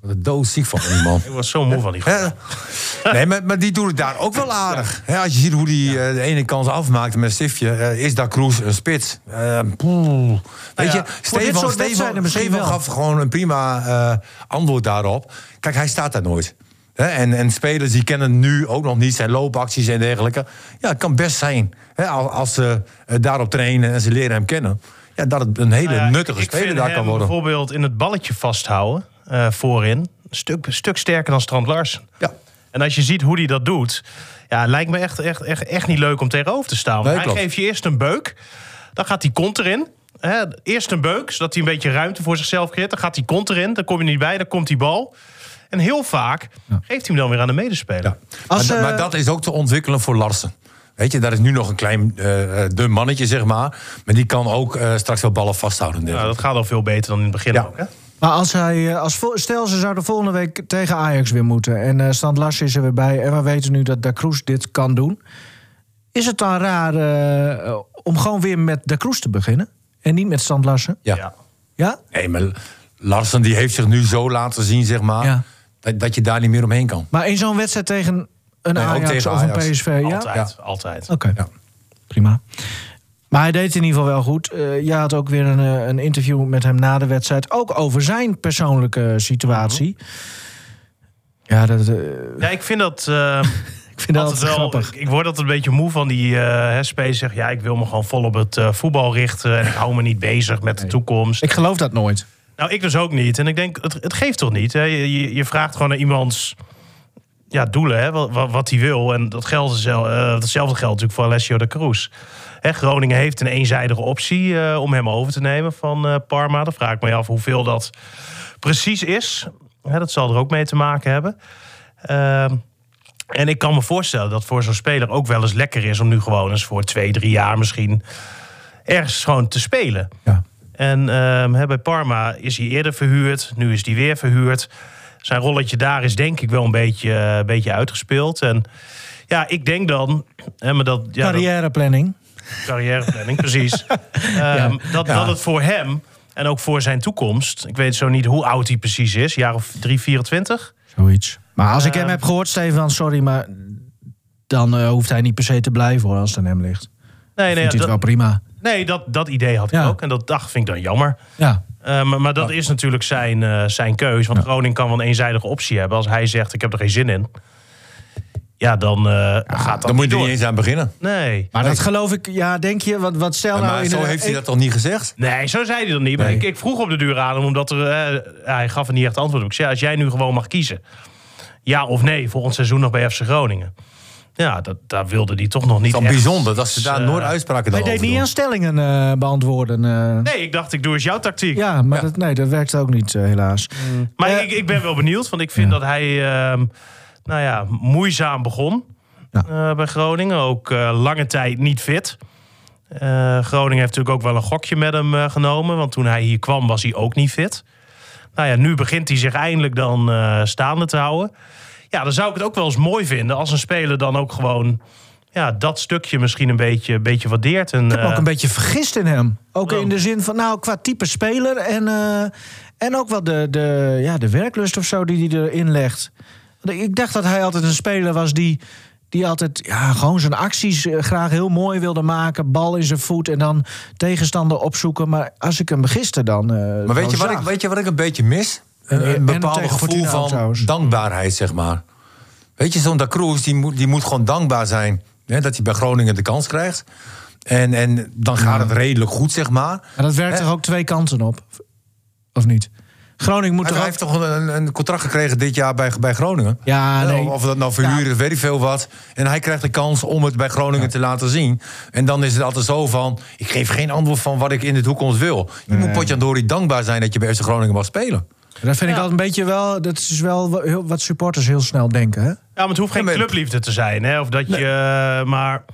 Wat een doodziek van die man.
Ik was zo moe van die gozer.
Hè? Nee, maar, maar die doet het daar ook wel aardig. Hè, als je ziet hoe die eh, de ene kans afmaakt met een stiftje, eh, is daar Kroes een spits. Eh, poeh. Weet
Nou ja,
je,
voor
dit soort
Stefan,
wedstrijden
Stefan,
misschien
Stefan
wel.
gaf gewoon een prima eh, antwoord daarop. Kijk, hij staat daar nooit. Hè, en, en spelers die kennen nu ook nog niet zijn loopacties en dergelijke. Ja, het kan best zijn hè, al- als ze eh, daarop trainen en ze leren hem kennen. Ja, dat het een hele
Nou ja,
nuttige
ik- ik
speler
vind
daar
hem
kan worden.
bijvoorbeeld in het balletje vasthouden, eh, voorin. Een stuk, een stuk sterker dan Strand Larsen.
Ja.
En als je ziet hoe hij dat doet, ja, lijkt me echt, echt, echt, echt niet leuk om tegenover te staan. Want
Nee,
hij
klopt.
geeft je eerst een beuk, dan gaat die kont erin. Hè, eerst een beuk, zodat hij een beetje ruimte voor zichzelf creëert. Dan gaat die kont erin, dan kom je niet bij, dan komt die bal. En heel vaak geeft hij hem dan weer aan de medespeler.
Ja.
Als,
maar,
eh,
maar dat is ook te ontwikkelen voor Larsen. Weet je, daar is nu nog een klein eh, eh, dun mannetje, zeg maar. Maar die kan ook eh, straks wel ballen vasthouden. en
Nou,
dergelijke.
dat gaat al veel beter dan in het begin
Ja.
ook, hè?
Maar als hij, eh, als, vol- stel ze zouden volgende week tegen Ajax weer moeten... en eh Stand Larsen is er weer bij en we weten nu dat Da Cruz dit kan doen... is het dan raar eh, om gewoon weer met Da Cruz te beginnen? En niet met Stand Larsen?
ja.
Ja?
Nee, maar Larsen die heeft zich nu zo laten zien, zeg maar.
Ja.
Dat, dat je daar niet meer omheen kan.
Maar in zo'n wedstrijd tegen een
Nee, ook
Ajax
tegen
of een
Ajax.
PSV... Ja?
Altijd, altijd.
Oké,
Ja.
prima. Maar hij deed het in ieder geval wel goed. Eh je had ook weer een, eh, een interview met hem na de wedstrijd. Ook over zijn persoonlijke situatie. Ja, dat, eh,
Ja, ik vind dat... eh,
ik vind dat altijd
Altijd wel-
grappig.
Ik, ik word altijd een beetje moe van die eh space zegt... ja, ik wil me gewoon vol op het eh, voetbal richten... en ik hou me niet bezig met de toekomst.
Ik geloof dat nooit.
Nou, ik dus ook niet. En ik denk, het, het geeft toch niet? Hè? Je, je- je vraagt gewoon naar iemands ja, doelen, hè? Wat, wat, wat hij wil. En dat geldt, zel- eh, hetzelfde geldt natuurlijk voor Alessio de Cruz. Hè, Groningen heeft een eenzijdige optie eh, om hem over te nemen van eh, Parma. Dan vraag ik me af hoeveel dat precies is. Hè, dat zal er ook mee te maken hebben. Ehm, en ik kan me voorstellen dat voor zo'n speler ook wel eens lekker is... om nu gewoon eens voor twee, drie jaar misschien ergens gewoon te spelen.
Ja.
En ehm, hè, bij Parma is hij eerder verhuurd. Nu is hij weer verhuurd. Zijn rolletje daar is denk ik wel een beetje, eh, een beetje uitgespeeld. En ja, ik denk dan... Hè, maar dat, ja, dat-
Carrièreplanning.
carrièreplanning,
(laughs)
precies. Ehm, dat,
Ja.
dat het voor hem en ook voor zijn toekomst... Ik weet zo niet hoe oud hij precies is. Een jaar of 3, 24?
Zoiets. Maar als ik hem
Ehm,
heb gehoord, Stefan, sorry, maar dan eh, hoeft hij niet per se te blijven hoor, als het aan hem ligt.
Nee, nee,
Vindt hij het
dat,
wel prima.
nee dat, dat idee had ik
Ja.
ook. En dat dacht vind ik dan jammer.
Ja,
Eh, maar, maar dat
Ah.
is natuurlijk zijn, eh, zijn keus. Want Groningen kan wel een eenzijdige optie hebben. Als hij zegt, ik heb er geen zin in. Ja, dan eh, gaat dat
Dan moet je er
door.
niet eens aan beginnen.
Nee.
maar dat geloof ik, ja, denk je, wat, wat stel nou...
maar
in
zo
de-
heeft hij dat toch niet gezegd?
Nee, zo zei hij dat niet. Maar
Nee.
ik, ik vroeg op de duur aan hem, omdat er, eh, hij gaf er niet echt antwoord op. Ik zei, als jij nu gewoon mag kiezen. Ja of nee, volgend seizoen nog bij FC Groningen. Ja, dat, daar wilde hij toch nog niet
Dan
echt-
bijzonder dat ze daar
eh,
nooit uitspraken dan
Hij deed
over
niet
doen.
aan stellingen eh, beantwoorden. eh.
Nee, ik dacht, ik doe eens jouw tactiek.
Ja, maar
Ja. Mm.
Dat, nee, dat werkt ook niet, eh, helaas.
Maar
Eh,
ik, ik ben wel benieuwd, want ik vind dat hij ehm, nou ja, moeizaam begon
Ja.
eh, bij Groningen. Ook eh, lange tijd niet fit. Eh, Groningen heeft natuurlijk ook wel een gokje met hem eh, genomen. Want toen hij hier kwam was hij ook niet fit. Nou ja, nu begint hij zich eindelijk dan eh, staande te houden. Ja, dan zou ik het ook wel eens mooi vinden als een speler dan ook gewoon... Ja, dat stukje misschien een beetje, een beetje waardeert. En,
Ik heb me
eh,
ook een beetje vergist in hem. Ook
Oh.
in de zin van, nou, qua type speler en, eh, en ook wel de, de, ja, de werklust of zo die hij erin legt. Want Ik dacht dat hij altijd een speler was die, die altijd ja, gewoon zijn acties eh, graag heel mooi wilde maken. Bal in zijn voet en dan tegenstander opzoeken. Maar als ik hem gisteren dan. eh,
Maar weet
zo
je, wat ik,
zag-
weet je wat ik een beetje mis?
En-
Een,
en
een bepaald
tegen
gevoel
Fortuna ook
van
trouwens.
dankbaarheid, zeg maar. Weet je, zo'n Da Cruz, die moet, die moet gewoon dankbaar zijn... Hè, dat hij bij Groningen de kans krijgt. En, en dan gaat het redelijk goed, zeg maar.
Maar dat werkt
Hè?
toch ook twee kanten op? Of niet? Groningen moet
Hij,
toch
hij
ook...
heeft toch een, een contract gekregen dit jaar bij, bij Groningen?
Ja,
Hè,
nee.
Of dat nou verhuren is, weet ik veel wat. En hij krijgt de kans om het bij Groningen te laten zien. En dan is het altijd zo van... ik geef geen antwoord van wat ik in de toekomst wil. Je moet Potjandori dankbaar zijn dat je bij FC Groningen mag spelen.
Dat vind ik altijd een beetje wel... Dat is wel wa- heel- wat supporters heel snel denken, hè?
ja, maar het hoeft geen
Ja, maar-
clubliefde te zijn. Hè? Of dat je... eh, maar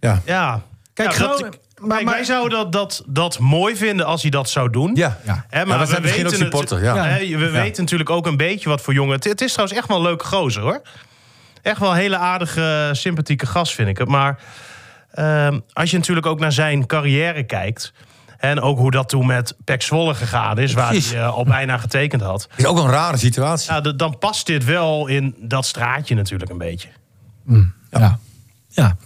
Ja.
Ja.
Kijk,
Ja, dat-
Groningen-
kijk,
maar- maar-
wij zouden dat, dat, dat mooi vinden als hij dat zou doen.
Ja.
Ja.
Hè,
Ja, dat zijn
we
misschien
weten
ook supporter,
het-
ja.
hè, we weten natuurlijk ook een beetje wat voor jongen. Het, het is trouwens echt wel een leuke gozer, hoor. Echt wel een hele aardige, sympathieke gast, vind ik het. Maar ehm, als je natuurlijk ook naar zijn carrière kijkt... en ook hoe dat toen met Pek Zwolle gegaan is... waar hij
Precies.
eh, al bijna getekend had...
is ook een rare situatie.
Ja, d- dan past dit wel in dat straatje natuurlijk een beetje.
Ja. Ja,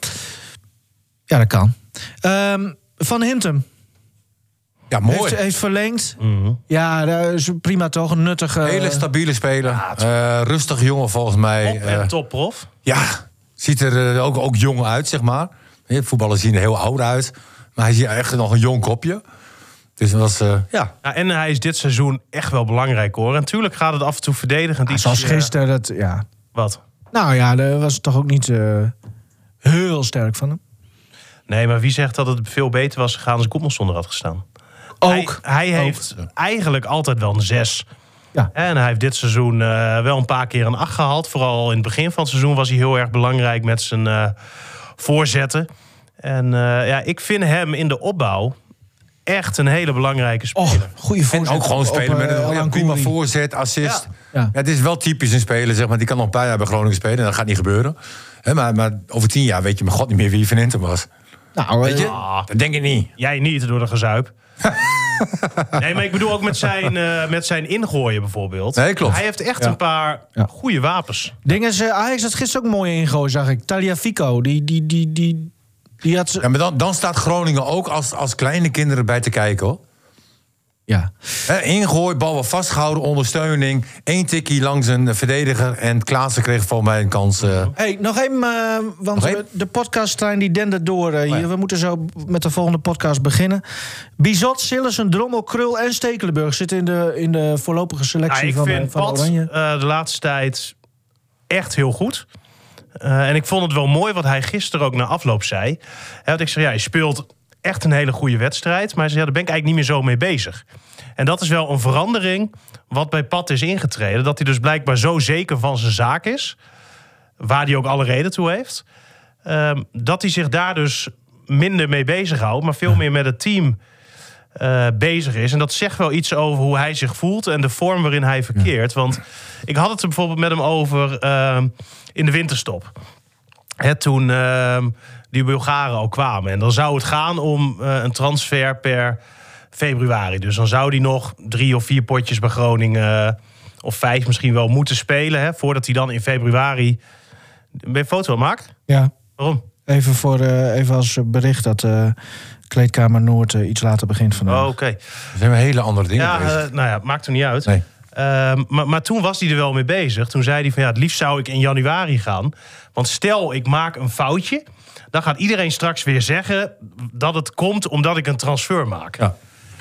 ja. dat kan. Ehm, Van Hintem
Ja,
heeft,
mooi. Mhm.
heeft verlengd. Ja, dat is prima toch? Een nuttige...
Hele stabiele speler. Eh, rustig jongen volgens mij.
Op
Eh,
en topprof.
ja, ziet er eh, ook, ook jong uit, zeg maar. Hè, Voetballers zien er heel oud uit. Maar hij ziet echt nog een jong kopje. Dus dat was... eh, ja.
Ja, en hij is dit seizoen echt wel belangrijk hoor. En natuurlijk gaat het af en toe verdedigend.
Ah,
iets,
zoals
eh,
gisteren, dat... Ja.
wat?
Nou ja, dat was toch ook niet eh, heel sterk van hem.
Nee, maar wie zegt dat het veel beter was gegaan als Goedmanson er had gestaan?
Ook.
Hij, hij
Ook.
heeft eigenlijk altijd wel een zes.
Ja.
En hij heeft dit seizoen eh, wel een paar keer een acht gehaald. Vooral in het begin van het seizoen was hij heel erg belangrijk met zijn eh, voorzetten. En eh, ja, ik vind hem in de opbouw echt een hele belangrijke
Och,
speler.
Oh, goede
En
voorzet.
ook gewoon
op,
spelen
op,
met
eh,
een ja,
Alan
prima
Koeri.
voorzet, assist.
Ja.
Ja.
Ja. het is wel typisch een speler, zeg maar. Die kan nog een paar jaar bij Groningen spelen. En dat gaat niet gebeuren. Hè, maar, maar over tien jaar weet je mijn god niet meer wie Van Hintem was.
Nou,
Weet je?
Ah.
Dat denk ik niet.
Jij niet door de gezuip. nee, maar ik bedoel ook met zijn, eh, met zijn ingooien bijvoorbeeld.
Nee, klopt.
Hij heeft echt een paar
Ja.
goede wapens.
Ding is, eh, Ajax had gisteren ook mooi ingooi, zag ik. Taliafico, die, die, die, die, die had...
Ja, maar dan, dan staat Groningen ook als, als kleine kinderen bij te kijken, hoor.
Ja.
Hè, ingooi, bal wel vastgehouden, ondersteuning. Eén tikkie langs een verdediger. En Klaassen kreeg voor mij een kans. eh,
Hey, nog één, eh, want
Nog één? Oh
we- de podcasttrein die dendert door eh, hier. We moeten zo b- met de volgende podcast beginnen. Bizot, Sillessen, Drommel, Krul en Stekelenburg zitten in de, in de voorlopige
Ja,
selectie
Nou, ik
van, eh,
vind
van
Pat
Oranje.
eh, de laatste tijd echt heel goed. Eh, en ik vond het wel mooi wat hij gisteren ook na afloop zei. Hè, want ik zei, ja, hij speelt echt een hele goede wedstrijd. Maar hij zei, ja, daar ben ik eigenlijk niet meer zo mee bezig. En dat is wel een verandering wat bij Pat is ingetreden. Dat hij dus blijkbaar zo zeker van zijn zaak is. Waar hij ook alle reden toe heeft. ehm, dat hij zich daar dus minder mee bezighoudt. Maar veel meer met het team eh, bezig is. En dat zegt wel iets over hoe hij zich voelt en de vorm waarin hij verkeert. Want ik had het er bijvoorbeeld met hem over ehm, in de winterstop. Hè, toen ehm, die Bulgaren al kwamen. En dan zou het gaan om eh, een transfer per februari. Dus dan zou hij nog drie of vier potjes bij Groningen... eh, of vijf misschien wel moeten spelen. Hè, voordat hij dan in februari... Ben je een foto aan het maken?
Ja,
Waarom?
even, voor, eh, even als bericht dat eh, Kleedkamer Noord eh, iets later begint vandaag.
Oh, Oké.
Er zijn weer hele andere dingen
Ja,
bezig.
eh, nou ja, maakt er niet uit.
Nee.
Ehm, maar, maar toen was hij er wel mee bezig. Toen zei hij van ja, het liefst zou ik in januari gaan. Want stel ik maak een foutje, dan gaat iedereen straks weer zeggen dat het komt omdat ik een transfer maak.
Ja.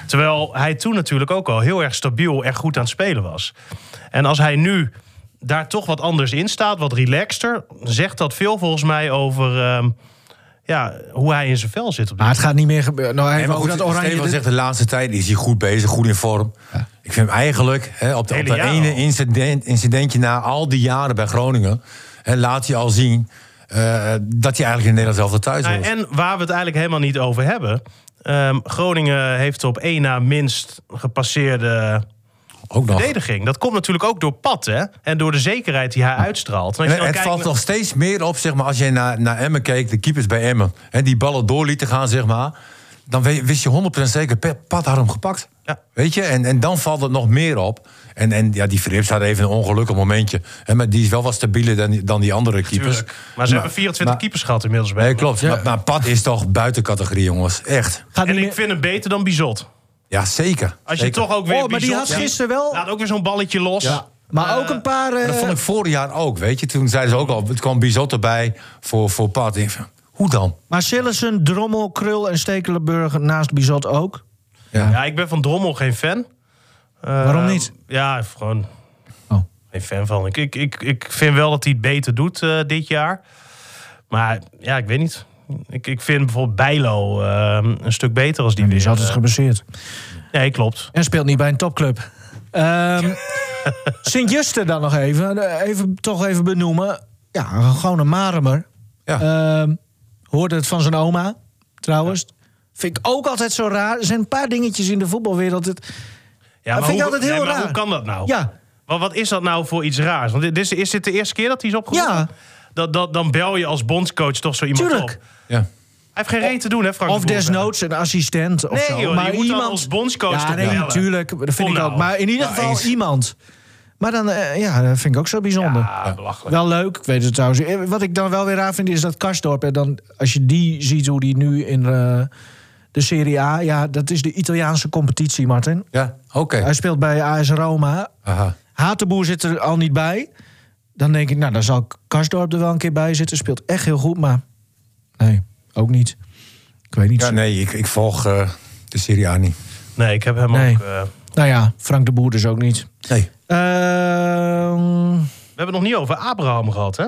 Terwijl hij toen natuurlijk ook al heel erg stabiel en goed aan het spelen was. En als hij nu daar toch wat anders in staat, wat relaxter, zegt dat veel volgens mij over ehm, ja, hoe hij in zijn vel zit. Op dit
Maar het gaat niet meer gebeuren. Nou, hij
Nee,
heeft
maar
ook
goed,
dat oranje...
Stefan zegt de laatste tijd is hij goed bezig, goed in vorm. Ik vind hem eigenlijk hè, op, de, op
Hele
dat
jaar
ene
al.
incident, incidentje na al die jaren bij Groningen... Hè, laat hij al zien eh, dat hij eigenlijk in Nederland zelf thuis
Nou,
hoort.
en waar we het eigenlijk helemaal niet over hebben. ehm, Groningen heeft op één na minst gepasseerde
Ook nog.
verdediging. Dat komt natuurlijk ook door Pat hè? en door de zekerheid die hij uitstraalt. En als je
En
dan
het
kijkt
valt
naar-
nog steeds meer op, zeg maar, als je naar, naar Emmen keek, de keepers bij Emmen, hè, die ballen door lieten gaan, zeg maar, dan we- wist je 100% zeker, Pe- Pat had hem gepakt.
Ja.
Weet je, en, en dan valt het nog meer op. En, en ja, die Philips had even een ongelukkig momentje. Hè, maar die is wel wat stabieler dan, die- dan die andere keepers.
Tuurlijk. Maar ze hebben 24
maar-
keepers gehad inmiddels bij.
Nee,
hem.
klopt. Maar, maar Pat is toch buiten categorie, jongens. Echt.
gaat
En
niet
ik
meer-
vind hem beter dan Bizot.
Ja, zeker.
Als je
Zeker.
toch ook weer
Oh, maar die
Bizot
had
ziet,
gisteren wel-
Laat ook weer zo'n balletje los.
Ja. Maar ook een paar... eh,
Maar dat vond ik vorig jaar ook, weet je. Toen zeiden ze ook al, het kwam Bizot erbij voor, voor Pat. Ik van, Hoe dan?
Maar Sillessen, Drommel, Krul en Stekelenburg naast Bizot ook.
Ja, ik ben van Drommel geen fan. Eh,
Waarom niet?
Ja, gewoon
Oh.
geen fan van. Ik, ik, ik, ik vind wel dat hij het beter doet eh, dit jaar. Maar ja, ik weet niet. Ik, ik vind bijvoorbeeld Bijlo eh, een stuk beter als die
Die is
weer,
altijd
eh,
geblesseerd.
nee, klopt.
En speelt niet bij een topclub. Ehm, (laughs) Sint-Justen dan nog even. Eh, even. Toch even benoemen. Ja, gewoon een Maremer.
Ja.
Ehm, hoorde het van zijn oma, trouwens. Vind ik ook altijd zo raar. Er zijn een paar dingetjes in de voetbalwereld. Het,
Ja,
vind ik
hoe-
altijd heel
maar
raar.
Hoe kan dat nou?
ja,
Wat, wat is dat nou voor iets raars? Want dit is, is dit de eerste keer dat hij is opgeroepen?
Ja.
Dat, dat, dan bel je als bondscoach toch zo iemand
Tuurlijk.
op.
Ja.
Hij heeft geen reet te doen, hè, Frank?
of
de Boer?
desnoods een assistent of
Nee,
zo.
joh, je
maar
moet dan
iemand
als bondscoach
Ja,
toch
nee,
bellen?
natuurlijk. Dat vind
Kom
ik
nou.
ook. Maar in ieder
Ja,
geval
eens.
iemand. Maar dan, eh, ja, dat vind ik ook zo bijzonder.
Ja, belachelijk.
Wel leuk, ik weet het trouwens. Eh, Wat ik dan wel weer raar vind is dat Karsdorp. En dan, als je die ziet hoe die nu in eh, de Serie A. Ja, dat is de Italiaanse competitie, Martin.
Ja, oké.
Hij speelt bij AS Roma.
Aha.
Hatenboer zit er al niet bij. Dan denk ik, nou, dan zal Karsdorp er wel een keer bij zitten. Speelt echt heel goed, maar nee, ook niet. Ik weet niet.
Ja, nee, ik, ik volg eh, de Serie A niet.
Nee, ik heb hem
Nee.
ook... eh,
Nou ja, Frank de Boer dus ook niet.
Nee.
Ehm,
we hebben het nog niet over Abraham gehad, hè?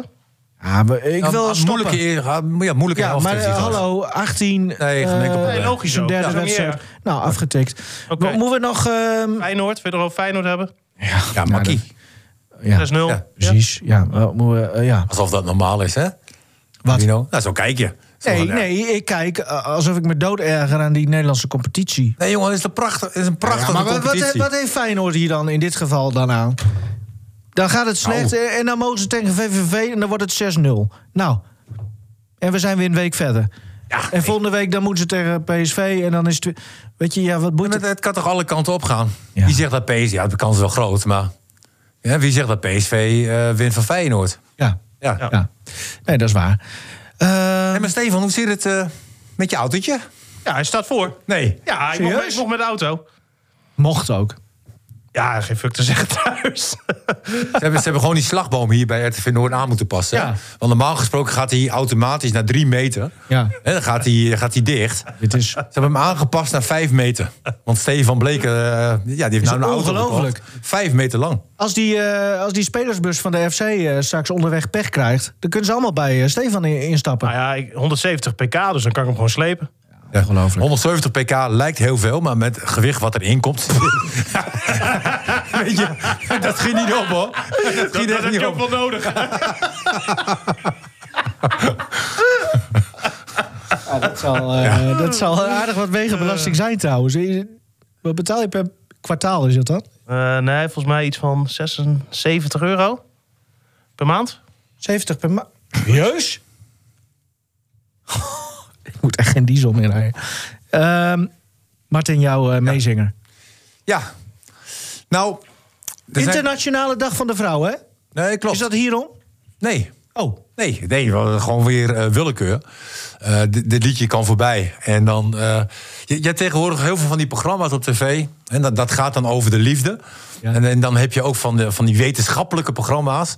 ja, maar ik wil stoppen.
moeilijke eer, ah, mo- ja, moeilijke
Ja,
helft
maar
heeft hij
eh,
gehad.
hallo, 18.
Nee, geen
eh,
enkel probleem. Nee,
logisch
zijn
ook.
derde
Ja, dat is ook
wedstrijd.
niet
Nou, afgetikt.
Oké.
Mo- Moeten we nog... ehm,
Feyenoord, wil je er over Feyenoord hebben? 6-0.
Ja, Makkie.
nou, ja,
Ja.
precies. Ja, eh, moeten we, eh, ja.
Alsof dat normaal is, hè?
Wat?
Dino? Nou, zo kijk je. Zo
Nee,
van, ja.
nee, ik kijk eh, alsof ik me dood erger aan die Nederlandse competitie.
Nee, jongen, het is, een prachtig, het is een prachtige
Ja, maar wat, wat,
competitie.
wat heeft Feyenoord hier dan in dit geval dan aan? Dan gaat het slecht eh, en dan mogen ze tegen VVV en dan wordt het 6-0. Nou, en we zijn weer een week verder.
Ja,
en volgende week dan moeten ze tegen PSV en dan is het... weer- Weet je, ja, wat moet
Maar
het?
het, het kan toch alle kanten op gaan?
Ja.
Wie zegt dat PSV... Ja, de kans is wel groot, maar... Ja, wie zegt dat PSV eh, wint van Feyenoord?
Ja,
Ja.
ja. Nee, dat is waar. Eh,
Hey, maar Stefan, hoe zit het eh, met je autootje?
Ja, hij staat voor.
Nee.
Ja, ik mocht,
Serieus?
ik mocht met de auto.
mocht ook.
Ja, geen fuck te zeggen (laughs) thuis.
Ze hebben, ze hebben gewoon die slagboom hier bij RTV Noord aan moeten passen.
Ja.
Want normaal gesproken gaat hij automatisch naar drie meter.
Ja.
En dan gaat hij, gaat hij dicht. Ze
Dit is, (laughs)
hebben hem aangepast naar vijf meter. Want Stefan Bleken, eh, ja, die heeft nou een auto
ongelooflijk.
gekocht. Vijf meter lang.
als, die, eh, als die spelersbus van de FC eh, straks onderweg pech krijgt... dan kunnen ze allemaal bij eh, Stefan in- instappen.
nou ja, ik- 170 pk, dus dan kan ik hem gewoon slepen.
Ja. 170 pk lijkt heel veel, maar met het gewicht wat erin komt. (laughs) Weet je, dat ging niet op hoor. Dat,
Dat, dat
ging echt
heb
niet
je
op.
ook wel nodig.
Ja, dat
(laughs)
zal, eh, dat zal aardig wat
Eh.
wegenbelasting zijn trouwens. Wat betaal je per kwartaal is dat dan?
Eh, nee, volgens mij iets van 76 euro per maand.
70 per maand. Serieus? (laughs) Ik moet echt geen diesel meer rijden. Ehm, Martin, jouw eh, meezinger.
Ja. Nou. er zijn-
Internationale Dag van de Vrouw, hè?
Nee, klopt.
Is dat hierom?
Nee.
Oh,
Nee, nee, wel, gewoon weer eh, willekeur. Eh, dit dit liedje kan voorbij. En dan. eh, je, je hebt tegenwoordig heel veel van die programma's op tv. En dat, dat gaat dan over de liefde.
Ja.
En, en dan heb je ook van, de, van die wetenschappelijke programma's.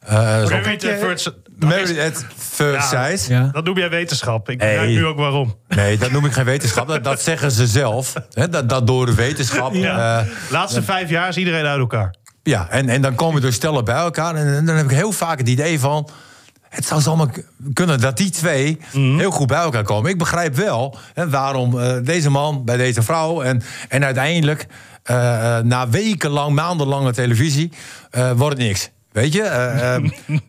Eh zo-
Married at first-
Married at First
Ja.
Sight.
ja.
Dat noem jij wetenschap. Ik
Hey.
begrijp nu ook waarom.
Nee, dat noem ik geen wetenschap. Dat, dat zeggen ze zelf. Hè, dat, dat door de wetenschap.
Ja.
eh,
Laatste vijf jaar is iedereen uit elkaar.
Ja, en, en dan komen er stellen bij elkaar. En, en dan heb ik heel vaak het idee van. Het zou zomaar k- kunnen dat die twee
Mhm.
heel goed bij elkaar komen. Ik begrijp wel hè, waarom eh, deze man bij deze vrouw. En, en uiteindelijk, eh, eh, na wekenlang, maandenlange televisie, eh, wordt het niks. Weet je,
(laughs)
Eh, eh,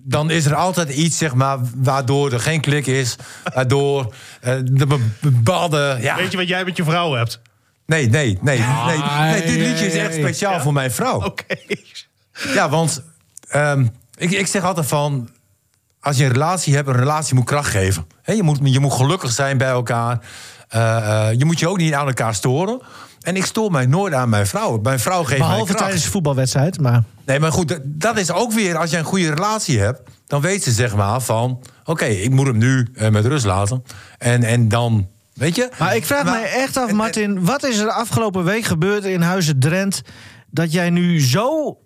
dan is er altijd iets, zeg maar, waardoor er geen klik is. Waardoor eh, de be- bepaalde. Ja,
Weet je wat jij met je vrouw hebt?
nee, nee, nee, nee, nee. Dit liedje is echt
Ai.
speciaal voor mijn vrouw.
Oké.
Ja, want ehm, ik, ik zeg altijd van... als je een relatie hebt, een relatie moet kracht geven. Hè, je, moet, je moet gelukkig zijn bij elkaar. Eh, eh, je moet je ook niet aan elkaar storen. En ik stoor mij nooit aan mijn vrouw. Mijn vrouw geeft mij
Behalve
kracht.
tijdens de voetbalwedstrijd, maar...
Nee, maar goed, dat, dat is ook weer... als je een goede relatie hebt, dan weet ze zeg maar van... oké, ik moet hem nu eh, met rust laten. En, en dan, weet je...
Maar ik vraag
me
mij echt af, Martin, wat is er afgelopen week gebeurd in Huizen Drent dat jij nu zo.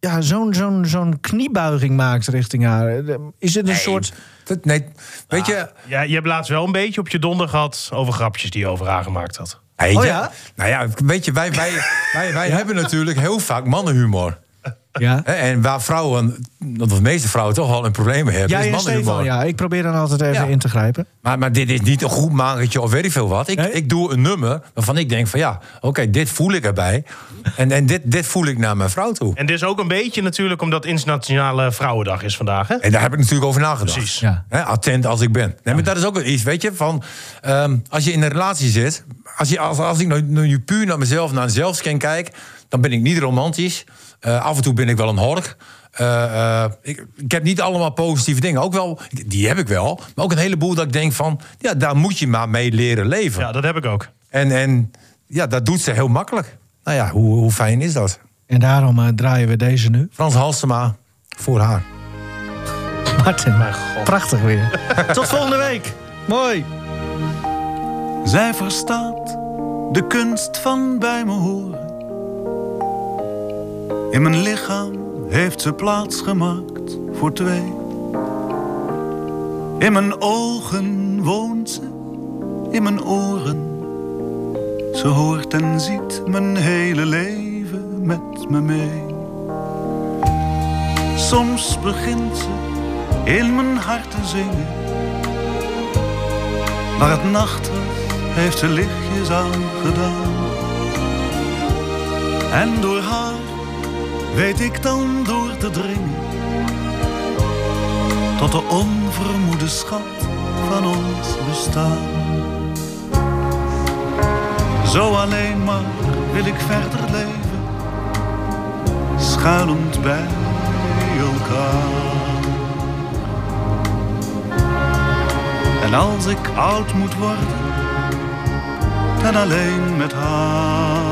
Ja, zo'n zo'n zo'n kniebuiging maakt richting haar. Is het een soort. Ah.
Dat, nee, weet je...
Ja, je hebt laatst wel een beetje op je donder gehad over grapjes die je over haar gemaakt had.
Hey,
Oh
ja.
ja?
Nou ja, weet je, wij, wij, wij, wij hebben natuurlijk heel vaak mannenhumor.
Ja.
Hè, En waar vrouwen, dat de meeste vrouwen toch al een probleem mee hebben,
Jij
is
en Stefan,
mannenhumor.
ja. Ik probeer dan altijd even
Ja.
in te grijpen.
maar, maar dit is niet een goed makertje of weet ik veel wat. Ik,
Nee?
ik doe een nummer waarvan ik denk van ja, oké, dit voel ik erbij. En, en dit, dit voel ik naar mijn vrouw toe.
En dit is ook een beetje natuurlijk omdat Internationale Vrouwendag is vandaag. Hè?
En daar heb ik natuurlijk over nagedacht.
Precies.
Ja.
Hè, attent als ik ben. Nee, maar dat is ook wel iets, weet je, van ehm, als je in een relatie zit, als, je, als, als ik nu, nu puur naar mezelf, naar een zelfscan kijk, dan ben ik niet romantisch. Eh, af en toe ben ik wel een hork. Eh, eh, ik, ik heb niet allemaal positieve dingen. Ook wel, die heb ik wel. Maar ook een heleboel dat ik denk van... ja, daar moet je maar mee leren leven.
Ja, dat heb ik ook.
En, en ja, dat doet ze heel makkelijk. Nou ja, hoe, hoe fijn is dat?
En daarom eh, draaien we deze nu.
Frans Halsema, voor haar.
Martin, prachtig weer. Tot volgende week. Mooi.
Zij verstaat de kunst van bij me horen. In mijn lichaam heeft ze plaats gemaakt voor twee. In mijn ogen woont ze, in mijn oren. Ze hoort en ziet mijn hele leven met me mee. Soms begint ze in mijn hart te zingen. Maar het nachtlicht heeft de lichtjes aangedaan. En door haar weet ik dan door te dringen tot de onvermoede schat van ons bestaan. Zo alleen maar wil ik verder leven, schuilend bij elkaar. En als ik oud moet worden, dan alleen met haar.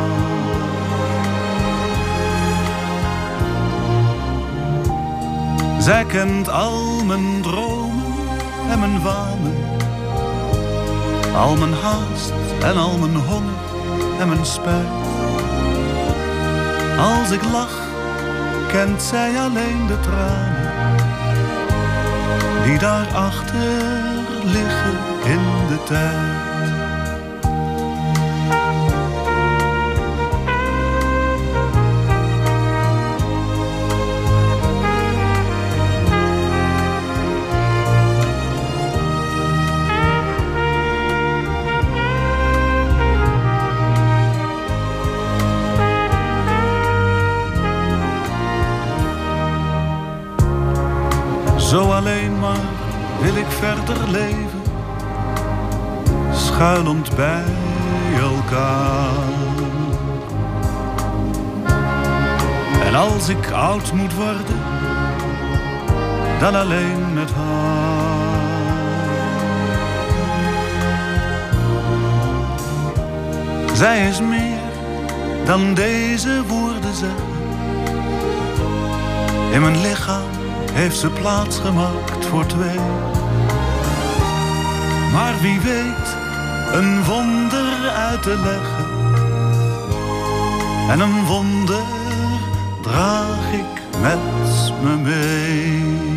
Zij kent al mijn dromen en mijn wanen. Al mijn haast en al mijn honger en mijn spijt. Als ik lach, kent zij alleen de tranen die daarachter liggen in de tijd. Zo alleen maar wil ik verder leven, schuilend bij elkaar. En als ik oud moet worden, dan alleen met haar. Zij is meer dan deze woorden zijn. In mijn lichaam heeft ze plaats gemaakt voor twee. Maar wie weet een wonder uit te leggen. En een wonder draag ik met me mee.